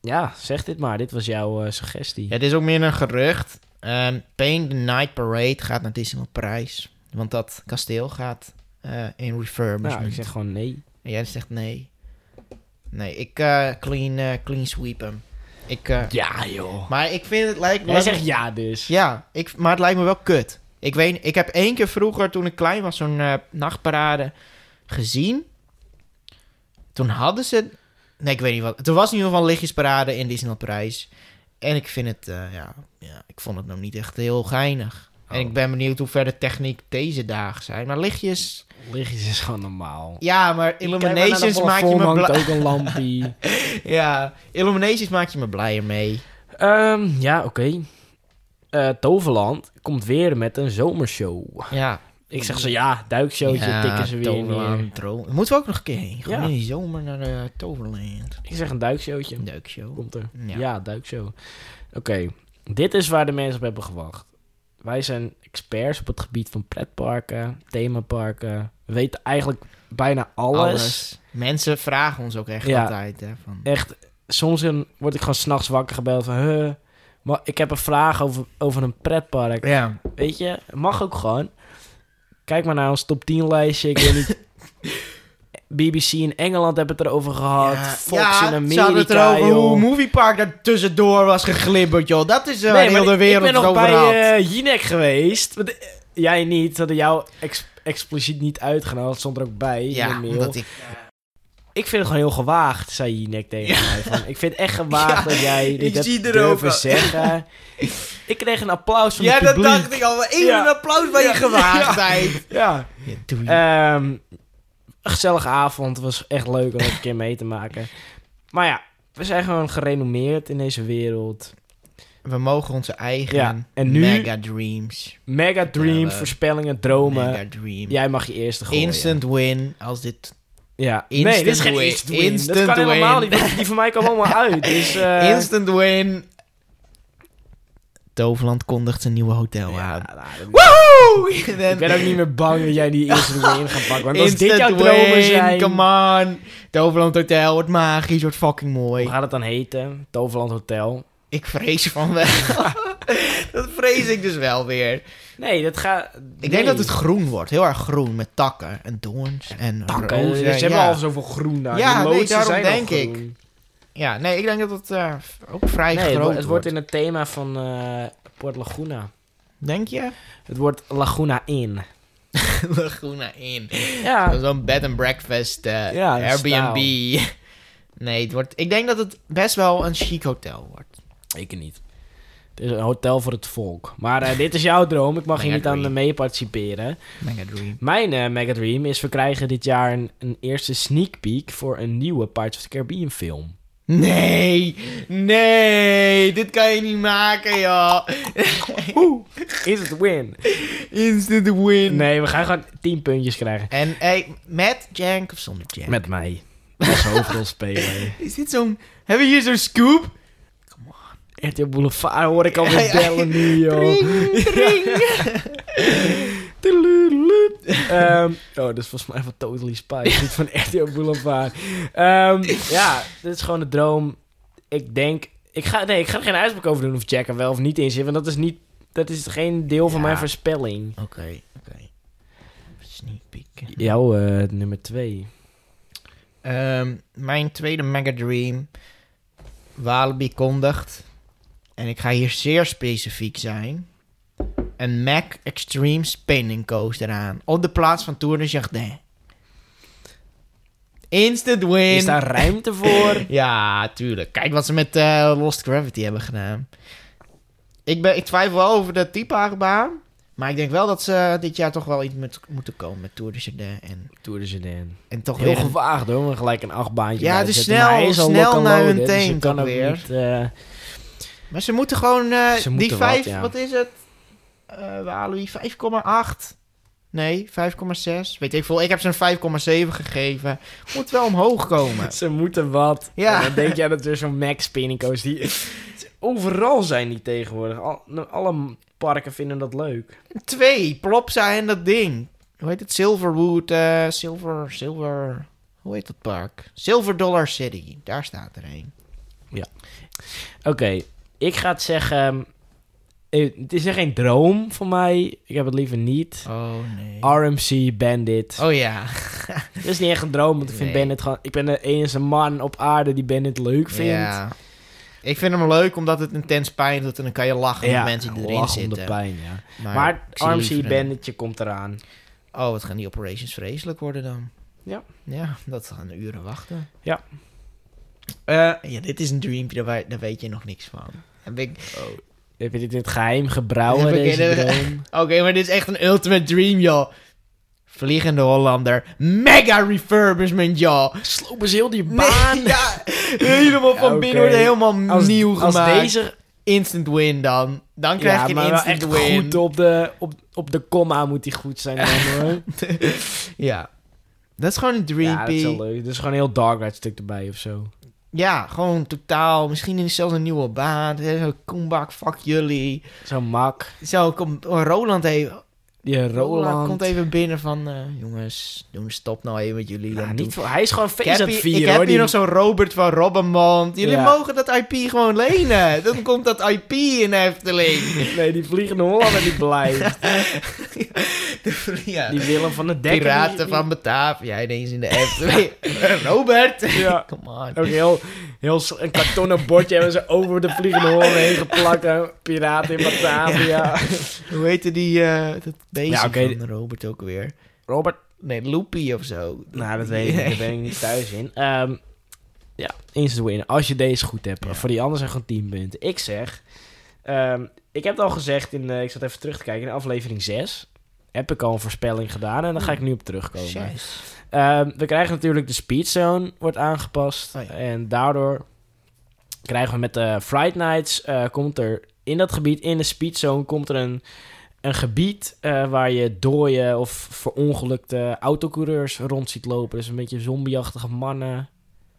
Speaker 1: ja, zeg dit maar. Dit was jouw eh, suggestie.
Speaker 2: Ja, dit is ook meer een gerucht. Ehm Pain the Night Parade gaat naar Disneyland Parijs. Want dat kasteel gaat eh, in refurbishment.
Speaker 1: nou, ik zeg gewoon nee.
Speaker 2: En jij zegt nee. Nee, ik eh, clean, eh, clean sweep hem. Ik, eh,
Speaker 1: Ja, joh.
Speaker 2: Maar ik vind het lijkt...
Speaker 1: Hij zegt ja, dus.
Speaker 2: Ja, ik, maar het lijkt me wel kut. Ik weet, ik heb één keer vroeger, toen ik klein was, zo'n eh, nachtparade gezien. Toen hadden ze... Nee, ik weet niet wat. Er was in ieder geval een lichtjesparade in Disneyland Parijs. En ik vind het, eh, ja, ja, ik vond het nog niet echt heel geinig. En
Speaker 1: Oh.
Speaker 2: ik ben benieuwd hoe ver de techniek deze dagen zijn. Maar lichtjes...
Speaker 1: Lichtjes is gewoon normaal.
Speaker 2: Ja, maar
Speaker 1: Kijk
Speaker 2: Illuminations
Speaker 1: maar naar
Speaker 2: maak
Speaker 1: de
Speaker 2: je me
Speaker 1: plafond hangt
Speaker 2: blij...
Speaker 1: ook een lampie.
Speaker 2: Ja, Illuminations maak je me blijer mee.
Speaker 1: Ehm, ja, oké. Eh, Toverland komt weer met een zomershow.
Speaker 2: Ja.
Speaker 1: Ik zeg zo, ja, duikshowtje, tikken ze weer neer.
Speaker 2: Toverland, Tro- Moeten we ook nog een keer heen? Gewoon
Speaker 1: Ja.
Speaker 2: in de zomer naar eh, Toverland.
Speaker 1: Ik zeg een duikshowtje.
Speaker 2: Duikshow.
Speaker 1: Komt er. Ja,
Speaker 2: Ja.
Speaker 1: duikshow. Oké, dit is waar de mensen op hebben gewacht. Wij zijn experts op het gebied van pretparken, themaparken. We weten eigenlijk bijna alles.
Speaker 2: Mensen vragen ons ook echt
Speaker 1: Ja.
Speaker 2: altijd. Hè, van,
Speaker 1: Echt, soms in- word ik gewoon s'nachts wakker gebeld van... Huh, maar ik heb een vraag over, over een pretpark.
Speaker 2: ja.
Speaker 1: Weet je, mag ook gewoon. Kijk maar naar ons top 10 lijstje. Ik weet niet. BBC in Engeland hebben het erover gehad. Fox
Speaker 2: Ja,
Speaker 1: in
Speaker 2: Ze hadden het
Speaker 1: Amerika,
Speaker 2: erover
Speaker 1: joh.
Speaker 2: hoe Moviepark daar tussendoor was geglibberd, joh. Dat is eh, waar
Speaker 1: maar
Speaker 2: heel de
Speaker 1: ik-
Speaker 2: wereld
Speaker 1: Ik ben
Speaker 2: het
Speaker 1: nog
Speaker 2: over had.
Speaker 1: bij eh Jinek geweest. Want, eh, jij niet. Ze hadden jou ex- expliciet niet uitgenodigd. Dat stond er ook bij in de
Speaker 2: ja,
Speaker 1: mail.
Speaker 2: omdat ik...
Speaker 1: Ik vind het gewoon heel gewaagd, zei Jinek tegen mij. Van, ik vind het echt gewaagd
Speaker 2: Ja,
Speaker 1: dat jij dit
Speaker 2: ik
Speaker 1: hebt
Speaker 2: zie er ook
Speaker 1: durven
Speaker 2: wel.
Speaker 1: zeggen. ik kreeg een applaus van
Speaker 2: Ja,
Speaker 1: het
Speaker 2: dat
Speaker 1: publiek.
Speaker 2: dacht ik al. maar Even
Speaker 1: Ja.
Speaker 2: een applaus bij je
Speaker 1: Ja.
Speaker 2: gewaagdheid. Eh,
Speaker 1: Ja.
Speaker 2: Ja, doei.
Speaker 1: Ehm, een gezellige avond. Het was echt leuk om dat een keer mee te maken. Maar ja, we zijn gewoon gerenommeerd in deze wereld.
Speaker 2: We mogen onze eigen
Speaker 1: ja, en nu-
Speaker 2: mega dreams.
Speaker 1: Mega dreams,
Speaker 2: we-
Speaker 1: voorspellingen, dromen.
Speaker 2: Mega dream.
Speaker 1: Jij mag je eerste gooien.
Speaker 2: Instant win als dit...
Speaker 1: Ja.
Speaker 2: Instant
Speaker 1: nee, dit is geen
Speaker 2: win.
Speaker 1: instant win. dat
Speaker 2: Instant
Speaker 1: kan helemaal
Speaker 2: win.
Speaker 1: niet. Die- Die van mij kwam allemaal uit. Dus, eh,
Speaker 2: Instant win. Toverland kondigt zijn nieuwe hotel
Speaker 1: ja,
Speaker 2: aan.
Speaker 1: nou, dat-
Speaker 2: Woehoe! En
Speaker 1: ik ben ook niet meer bang dat jij die instant win gaat pakken. Want als dit jouw
Speaker 2: Instant
Speaker 1: dromen
Speaker 2: win,
Speaker 1: zijn...
Speaker 2: come on. Toverland Hotel wordt magisch, wordt fucking mooi.
Speaker 1: Hoe gaat het dan heten? Toverland Hotel.
Speaker 2: Ik vrees van wel. dat vrees ik dus wel weer. Ik
Speaker 1: Nee, dat gaat... Ik
Speaker 2: denk dat het groen wordt, heel erg groen, met takken en doorns en
Speaker 1: Takken. dus Ze
Speaker 2: rozen.
Speaker 1: hebben
Speaker 2: Oh, ja.
Speaker 1: al zoveel groen daar.
Speaker 2: Ja,
Speaker 1: Die
Speaker 2: nee,
Speaker 1: loodsen
Speaker 2: daarom
Speaker 1: zijn al
Speaker 2: denk
Speaker 1: groen.
Speaker 2: ik. ja, nee, ik denk dat het eh, ook vrij
Speaker 1: Nee, het,
Speaker 2: groot
Speaker 1: wo- het wordt
Speaker 2: wordt.
Speaker 1: in het thema van eh Port Laguna.
Speaker 2: Denk je?
Speaker 1: Het wordt Laguna Inn.
Speaker 2: groen naar in.
Speaker 1: Ja,
Speaker 2: Dat is Zo'n bed and breakfast, eh,
Speaker 1: Ja, een
Speaker 2: Airbnb. Nee, het wordt, ik denk dat het best wel een chic hotel wordt.
Speaker 1: zeker niet. Het is een hotel voor het volk. Maar eh, dit is jouw droom. Ik mag hier
Speaker 2: Mega
Speaker 1: niet aan
Speaker 2: dream.
Speaker 1: mee participeren.
Speaker 2: Mega dream.
Speaker 1: Mijn eh mega dream is we krijgen dit jaar een, een eerste sneak peek voor een nieuwe Pirates of the Caribbean film.
Speaker 2: Nee, nee, dit kan je niet maken, joh.
Speaker 1: Oeh, is het win?
Speaker 2: Instant win.
Speaker 1: Nee, we gaan gewoon 10 puntjes krijgen.
Speaker 2: En hey, met Jank of zonder Jank?
Speaker 1: Met mij. Als hoofdrolspeler.
Speaker 2: Is dit zo'n... Hebben we hier zo'n scoop?
Speaker 1: RTL Boulevard hoor ik alweer bellen nu, joh.
Speaker 2: Ring, ring.
Speaker 1: Tudeludelude. Ehm, oh, dat is volgens mij van Totally Spice, niet van RTL Boulevard. Ehm, ja, dit is gewoon de droom. Ik denk... Ik ga, nee, ik ga er geen uitspraak over doen of Jack er wel of niet in zit, want dat is, niet, dat is geen deel van
Speaker 2: Ja.
Speaker 1: mijn voorspelling.
Speaker 2: Oké, oké. Sneak peek.
Speaker 1: Jouw eh, nummer twee.
Speaker 2: Ehm, mijn tweede Mega Dream. Walibi kondigt. En ik ga hier zeer specifiek zijn. Een Mac Extreme Spinning Coaster aan. Op de plaats van Tour de Jardin. Instant win.
Speaker 1: Is daar ruimte voor?
Speaker 2: Ja, tuurlijk. Kijk wat ze met eh, Lost Gravity hebben gedaan. Ik, ben, ik twijfel wel over de type baan. Maar ik denk wel dat ze eh, dit jaar toch wel iets met, moeten komen met Tour de Jardin. En,
Speaker 1: Tour de Jardin.
Speaker 2: en toch
Speaker 1: Heel
Speaker 2: weer een-
Speaker 1: gewaagd hoor, maar gelijk een achtbaantje.
Speaker 2: Ja,
Speaker 1: bij
Speaker 2: dus
Speaker 1: zetten. Maar
Speaker 2: snel-
Speaker 1: hij is al
Speaker 2: snel
Speaker 1: locomotive,
Speaker 2: naar hun
Speaker 1: dus
Speaker 2: teen
Speaker 1: je kan
Speaker 2: toch
Speaker 1: ook
Speaker 2: weer.
Speaker 1: niet, eh,
Speaker 2: Maar ze moeten gewoon eh,
Speaker 1: Ze moeten
Speaker 2: die
Speaker 1: wat,
Speaker 2: 5, wat,
Speaker 1: ja.
Speaker 2: is het? Eh Walibi 5,8. Nee, 5,6. Weet ik veel. Ik heb ze een 5,7 gegeven. Moet wel omhoog komen.
Speaker 1: Ze moeten wat.
Speaker 2: Ja.
Speaker 1: En dan denk jij dat er zo'n Mac spinning coast die... Overal zijn die tegenwoordig. Al- nou, alle parken vinden dat leuk.
Speaker 2: Twee, Plopsa en dat ding. Hoe heet het? Silverwood, eh, Silver, Silver... Hoe heet dat park? Silver Dollar City. Daar staat er een.
Speaker 1: Oké, ik ga het zeggen... ehm, eh, Het is echt geen droom van mij. Ik heb het liever niet.
Speaker 2: Oh, nee.
Speaker 1: RMC Bandit.
Speaker 2: Oh, ja.
Speaker 1: Dat is niet echt een droom, want ik vind
Speaker 2: Nee.
Speaker 1: Bandit gewoon... Ik ben de enige man op aarde die Bandit leuk vindt.
Speaker 2: Ja. Ik vind hem leuk omdat het intens pijn doet en dan kan je lachen
Speaker 1: Ja,
Speaker 2: met mensen die erin
Speaker 1: lach om
Speaker 2: zitten.
Speaker 1: de pijn, ja.
Speaker 2: Maar,
Speaker 1: Maar
Speaker 2: ik zie liever
Speaker 1: RMC
Speaker 2: een-
Speaker 1: Banditje komt eraan.
Speaker 2: Oh, wat gaan die operations vreselijk worden dan?
Speaker 1: Ja.
Speaker 2: Ja, dat gaan uren wachten.
Speaker 1: Ja.
Speaker 2: Eh, ja, dit is een dreampje, daar, wij- daar weet je nog niks van. Heb ik...
Speaker 1: Heb je dit in het geheim gebrouwen,
Speaker 2: Heb ik
Speaker 1: deze
Speaker 2: in de-
Speaker 1: droom?
Speaker 2: Oké, maar dit is echt een ultimate dream, joh. Vliegende Hollander. Mega refurbishment, joh.
Speaker 1: Slopen ze heel die baan.
Speaker 2: Nee, ja, helemaal van
Speaker 1: Ja,
Speaker 2: binnen wordt
Speaker 1: oké.
Speaker 2: helemaal
Speaker 1: Als,
Speaker 2: nieuw
Speaker 1: als
Speaker 2: gemaakt.
Speaker 1: deze
Speaker 2: Instant win dan. Dan krijg
Speaker 1: ja,
Speaker 2: je
Speaker 1: maar
Speaker 2: een
Speaker 1: wel
Speaker 2: instant
Speaker 1: echt
Speaker 2: win.
Speaker 1: goed op de, op, op de comma moet die goed zijn dan, hoor.
Speaker 2: Ja. Dat is gewoon een
Speaker 1: ja, dat
Speaker 2: dreampie.
Speaker 1: is wel leuk. Dus gewoon een heel Dark Ride stuk erbij of zo.
Speaker 2: Ja, gewoon totaal. Misschien is zelfs een nieuwe baan. Hè, Koenbak, fuck jullie.
Speaker 1: Zo'n mak.
Speaker 2: Zo, komt oh, Roland even.
Speaker 1: Die Roland.
Speaker 2: komt even binnen van... eh, jongens, doe een stop nou even met jullie.
Speaker 1: Ja,
Speaker 2: dan
Speaker 1: niet
Speaker 2: doen-
Speaker 1: veel. Hij is gewoon
Speaker 2: ik
Speaker 1: face
Speaker 2: heb
Speaker 1: at
Speaker 2: hier,
Speaker 1: 4,
Speaker 2: ik
Speaker 1: hoor.
Speaker 2: heb hier
Speaker 1: die-
Speaker 2: nog zo'n Robert van Robbenmond. Jullie
Speaker 1: Ja.
Speaker 2: mogen dat IP gewoon lenen. Dan komt dat IP in Efteling.
Speaker 1: Nee, die vliegende Hollander die blijft.
Speaker 2: ja.
Speaker 1: Die Willem van de Dek.
Speaker 2: Piraten van Batavia ineens in de Efteling. Robert!
Speaker 1: Ja.
Speaker 2: Come on.
Speaker 1: Ook heel, heel s- een kartonnen bordje hebben ze over de vliegende Hollander heen geplakt. hè. Piraten in Batavia.
Speaker 2: Hoe heette die, eh, dat beestje
Speaker 1: Ja, oké.
Speaker 2: van Robert ook weer?
Speaker 1: Robert.
Speaker 2: Nee, Loopy of zo.
Speaker 1: Nou, dat weet ik niet.
Speaker 2: Nee.
Speaker 1: Daar ben ik niet thuis in. Ehm, ja, instant win. Als je deze goed hebt.
Speaker 2: Ja.
Speaker 1: Voor die anderen zijn gewoon 10 punten. Ik zeg... ehm, ik heb het al gezegd in... eh, ik zat even terug te kijken. In aflevering 6 heb ik al een voorspelling gedaan. En daar ga ik nu op terugkomen.
Speaker 2: Jezus.
Speaker 1: Ehm, we krijgen natuurlijk de speedzone wordt aangepast.
Speaker 2: Oh ja.
Speaker 1: En daardoor krijgen we met de Fright Nights... eh, komt er in dat gebied, in de speedzone, komt er een... Een gebied eh, waar je dooie of verongelukte autocoureurs rond ziet lopen. Dus een beetje zombieachtige mannen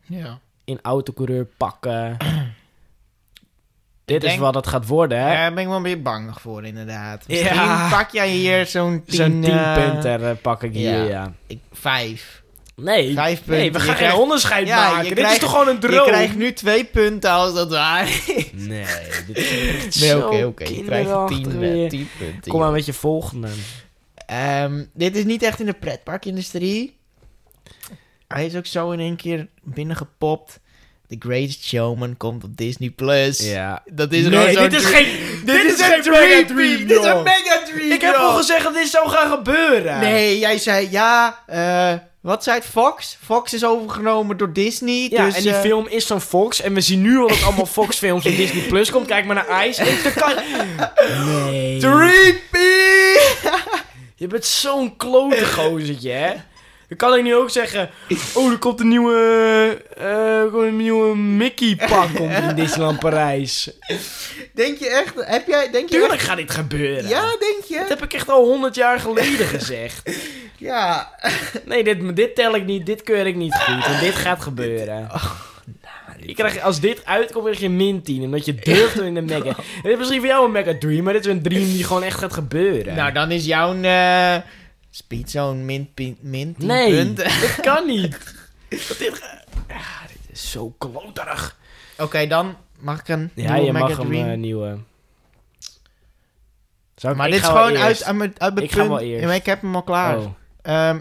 Speaker 2: Ja.
Speaker 1: in autocoureurpakken. Dit is
Speaker 2: denk-
Speaker 1: wat het gaat worden, hè?
Speaker 2: Daar ben ik wel een beetje bang nog voor, inderdaad.
Speaker 1: Ja.
Speaker 2: Misschien pak jij hier zo'n tien...
Speaker 1: Zo'n 10
Speaker 2: eh,
Speaker 1: punter eh, pak ik hier, ja.
Speaker 2: ja. ik, vijf.
Speaker 1: Nee,
Speaker 2: Vijf punten.
Speaker 1: nee, we
Speaker 2: Je
Speaker 1: gaan
Speaker 2: krijgt-
Speaker 1: geen onderscheid
Speaker 2: Ja, je
Speaker 1: maken. Dit is
Speaker 2: krijgt-
Speaker 1: toch gewoon een droom?
Speaker 2: Je krijgt nu twee punten als dat waar.
Speaker 1: Nee, dit is echt
Speaker 2: Nee,
Speaker 1: zo
Speaker 2: oké, oké. Je krijgt
Speaker 1: kinderachtig
Speaker 2: tien,
Speaker 1: weer.
Speaker 2: eh, tien punten.
Speaker 1: Kom maar
Speaker 2: joh.
Speaker 1: met je volgende.
Speaker 2: Ehm, dit is niet echt in de pretparkindustrie. Hij is ook zo in één keer binnengepopt. The Greatest Showman komt op Disney+. Plus.
Speaker 1: Ja.
Speaker 2: Dat is gewoon
Speaker 1: nee,
Speaker 2: zo'n
Speaker 1: dit is
Speaker 2: dr-
Speaker 1: geen...
Speaker 2: Dit is een
Speaker 1: mega
Speaker 2: dream, dream. Dit is een mega dream,
Speaker 1: Ik heb
Speaker 2: joh.
Speaker 1: al gezegd dat dit zou gaan gebeuren.
Speaker 2: Nee, jij zei ja. eh, wat zei het? Fox? Fox is overgenomen door Disney.
Speaker 1: Ja,
Speaker 2: dus,
Speaker 1: en die
Speaker 2: eh,
Speaker 1: film is van Fox. En we zien nu al dat allemaal Fox-films op Disney Plus komt. Kijk maar naar Ice. En dat kan... Nee.
Speaker 2: Dreampie!
Speaker 1: Je bent zo'n klote gozertje, hè? Dan kan ik nu ook zeggen... Oh, er komt een nieuwe... eh, er komt een nieuwe Mickey-pak komt in Disneyland Parijs.
Speaker 2: Denk je echt? Heb jij? Denk je
Speaker 1: Tuurlijk gaat dit gebeuren.
Speaker 2: echt? Ja, denk
Speaker 1: Dat
Speaker 2: je?
Speaker 1: heb ik echt al honderd jaar geleden gezegd.
Speaker 2: Ja. Oh,
Speaker 1: Nee,
Speaker 2: nou,
Speaker 1: dit, dit tel ik niet. Dit keur ik niet goed. En dit gaat gebeuren. Je krijgt, als dit uitkomt, krijg je min 10. Omdat je durft om in de mega... Dit is misschien voor jou een mega dream, maar dit is een dream die gewoon echt gaat gebeuren.
Speaker 2: Nou, dan is jouw eh speedzone min, pin- min 10
Speaker 1: nee,
Speaker 2: punten.
Speaker 1: dat kan niet. Dat dit, ge- Ah, dit is zo kloterig.
Speaker 2: Oké, dan mag ik een
Speaker 1: Ja,
Speaker 2: nieuwe
Speaker 1: je mag hem
Speaker 2: Megadream?
Speaker 1: eh, nieuwe... Zou ik-
Speaker 2: maar
Speaker 1: ik
Speaker 2: dit is
Speaker 1: ga wel
Speaker 2: gewoon uit,
Speaker 1: eerst.
Speaker 2: uit mijn, uit mijn
Speaker 1: Ik ga
Speaker 2: punt.
Speaker 1: wel eerst.
Speaker 2: Ja, maar ik heb hem al klaar.
Speaker 1: Oh,
Speaker 2: Ehm,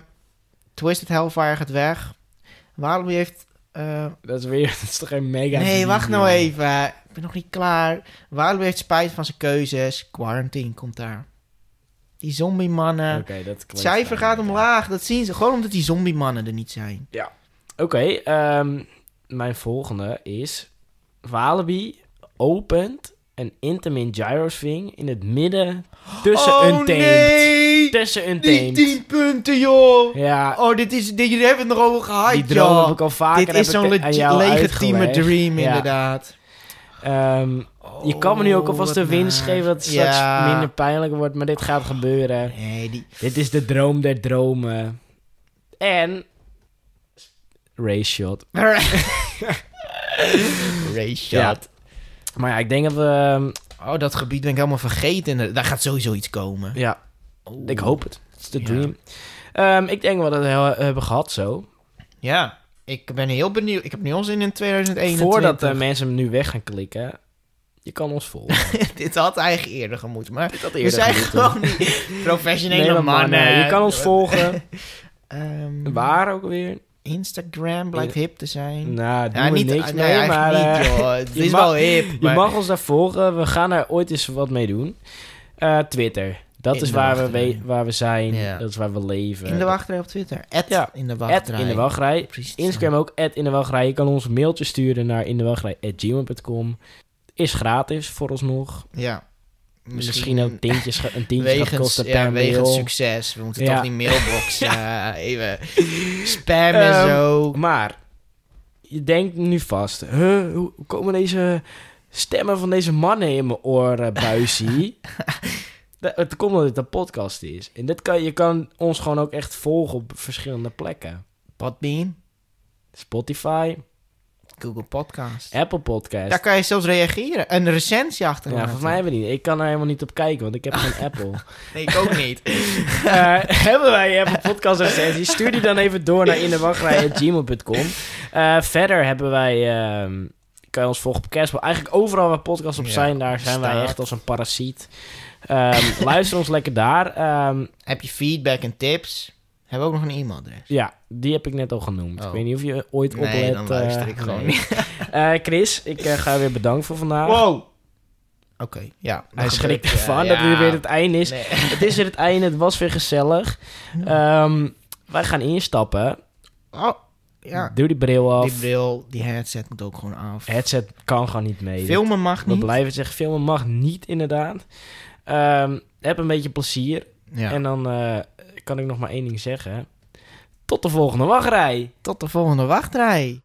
Speaker 2: Twisted Hellfire gaat weg. Waarom heeft... eh,
Speaker 1: dat is weer... Dat is toch geen mega
Speaker 2: nee,
Speaker 1: dream,
Speaker 2: wacht nou
Speaker 1: joh.
Speaker 2: even. Ik ben nog niet klaar. Waarom heeft spijt van zijn keuzes. Quarantine komt daar. Die zombie-mannen.
Speaker 1: Oké, dat
Speaker 2: Het cijfer gaat omlaag. Dat zien ze. Gewoon omdat die zombie-mannen er niet zijn.
Speaker 1: Oké, ehm, mijn volgende is... Walibi opent een Intamin Gyroswing in het midden tussen
Speaker 2: oh,
Speaker 1: een taint.
Speaker 2: nee!
Speaker 1: Tussen een
Speaker 2: Die
Speaker 1: taint.
Speaker 2: 10 punten, joh!
Speaker 1: Ja,
Speaker 2: Oh, dit is... Dit, jullie hebben het nog over
Speaker 1: die
Speaker 2: gehyped,
Speaker 1: droom
Speaker 2: joh.
Speaker 1: heb ik al vaker
Speaker 2: Dit
Speaker 1: heb
Speaker 2: is
Speaker 1: ik
Speaker 2: zo'n
Speaker 1: het aan
Speaker 2: legit-
Speaker 1: jou
Speaker 2: legitieme
Speaker 1: uitgelegd.
Speaker 2: dream,
Speaker 1: Ja.
Speaker 2: inderdaad. Oh,
Speaker 1: Ehm, je kan me nu ook alvast de winst geven dat het straks minder pijnlijk wordt, maar dit gaat gebeuren.
Speaker 2: Nee, die...
Speaker 1: Dit is de droom der dromen. En... Ray shot.
Speaker 2: Rayshot.
Speaker 1: Maar ja, ik denk dat we... ehm,
Speaker 2: Oh, dat gebied ben ik helemaal vergeten. eh, Daar gaat sowieso iets komen.
Speaker 1: Ja,
Speaker 2: Oh.
Speaker 1: Ik hoop het. Het is de
Speaker 2: Ja.
Speaker 1: dream. Ehm, ik denk wel dat we het heel- hebben gehad zo.
Speaker 2: Ja, ik ben heel benieuwd. Ik heb nu al zin in 2021.
Speaker 1: Voordat eh, mensen hem nu weg gaan klikken. Je kan ons volgen.
Speaker 2: Dit had eigenlijk eerder gemoet, maar...
Speaker 1: Dit had
Speaker 2: We
Speaker 1: eerder
Speaker 2: zijn
Speaker 1: gemoeten.
Speaker 2: gewoon die professionele
Speaker 1: Nee, maar
Speaker 2: mannen.
Speaker 1: mannen, Je kan ons volgen.
Speaker 2: Ehm,
Speaker 1: Waar ook weer?
Speaker 2: Instagram blijkt hip te zijn.
Speaker 1: Nou, doen
Speaker 2: Ja,
Speaker 1: we
Speaker 2: niet,
Speaker 1: niks
Speaker 2: nee,
Speaker 1: mee. Maar,
Speaker 2: eigenlijk
Speaker 1: eh,
Speaker 2: niet, joh. Het
Speaker 1: je
Speaker 2: is
Speaker 1: mag-
Speaker 2: wel hip,
Speaker 1: je
Speaker 2: maar...
Speaker 1: mag ons daar volgen. We gaan daar ooit eens wat mee doen. Eh, Twitter. Dat
Speaker 2: In
Speaker 1: is
Speaker 2: de
Speaker 1: waar we,
Speaker 2: wachtrij.
Speaker 1: we- waar we zijn.
Speaker 2: Ja.
Speaker 1: Dat is waar we leven.
Speaker 2: In de wachtrij op Twitter. At
Speaker 1: Ja,
Speaker 2: in de
Speaker 1: At
Speaker 2: wachtrij.
Speaker 1: in de wachtrij.
Speaker 2: Precies.
Speaker 1: Instagram ook, in de wachtrij. Je kan ons een mailtje sturen naar in de wachtrij.gmail.com. Is gratis vooralsnog.
Speaker 2: Ja.
Speaker 1: Misschien, ook tientjes, ga- een tientje gaat
Speaker 2: Wegens,
Speaker 1: kosten
Speaker 2: ja,
Speaker 1: per
Speaker 2: wegens
Speaker 1: mail.
Speaker 2: succes. We moeten
Speaker 1: Ja.
Speaker 2: toch die mailbox eh, even spammen
Speaker 1: Ehm,
Speaker 2: zo.
Speaker 1: Maar je denkt nu vast, huh, hoe hoe komen deze stemmen van deze mannen in mijn oren, buisie? Dat- Het komt omdat dit een podcast is. En dit kan, je kan ons gewoon ook echt volgen op verschillende plekken.
Speaker 2: Podbean,
Speaker 1: Spotify,
Speaker 2: Google Podcast.
Speaker 1: Apple Podcast.
Speaker 2: Daar kan je zelfs reageren. Een recensie
Speaker 1: dus- Ja,
Speaker 2: achterlaten.
Speaker 1: volgens mij hebben we niet. Ik kan er helemaal niet op kijken, want ik heb geen Apple.
Speaker 2: Nee, ik ook niet.
Speaker 1: Eh, hebben wij een podcast recensie? Stuur die dan even door naar inderwachtrij.gmail.com. Eh verder hebben wij... ehm, kan je ons volgen op Kerstbal. Eigenlijk overal waar podcasts op
Speaker 2: Ja,
Speaker 1: zijn, daar zijn wij
Speaker 2: staat.
Speaker 1: echt als een parasiet. Ehm, luister ons lekker daar. Ehm,
Speaker 2: Heb je feedback en tips? Hebben we ook nog een e-mailadres?
Speaker 1: ja, die heb ik net al genoemd.
Speaker 2: Oh.
Speaker 1: Ik weet niet of je ooit oplet.
Speaker 2: Nee, dan luister
Speaker 1: eh,
Speaker 2: ik gewoon
Speaker 1: nee.
Speaker 2: niet.
Speaker 1: Eh, Chris, ik eh, ga je weer bedanken voor vandaag.
Speaker 2: Wow! Oké, ja.
Speaker 1: Hij
Speaker 2: dat
Speaker 1: schrikt
Speaker 2: gebeurt,
Speaker 1: ervan
Speaker 2: eh,
Speaker 1: dat
Speaker 2: ja.
Speaker 1: het weer het einde is.
Speaker 2: Nee.
Speaker 1: Het is weer het einde, het was weer gezellig. Ehm, wij gaan instappen.
Speaker 2: Oh, ja.
Speaker 1: Doe die bril af.
Speaker 2: Die bril, die headset moet ook gewoon af.
Speaker 1: headset kan gewoon niet mee.
Speaker 2: Filmen mag
Speaker 1: We
Speaker 2: niet.
Speaker 1: blijven zeggen, filmen mag niet inderdaad. Ehm, heb een beetje plezier.
Speaker 2: Ja.
Speaker 1: En dan eh, kan ik nog maar één ding zeggen. Tot de volgende wachtrij!
Speaker 2: Tot de volgende wachtrij.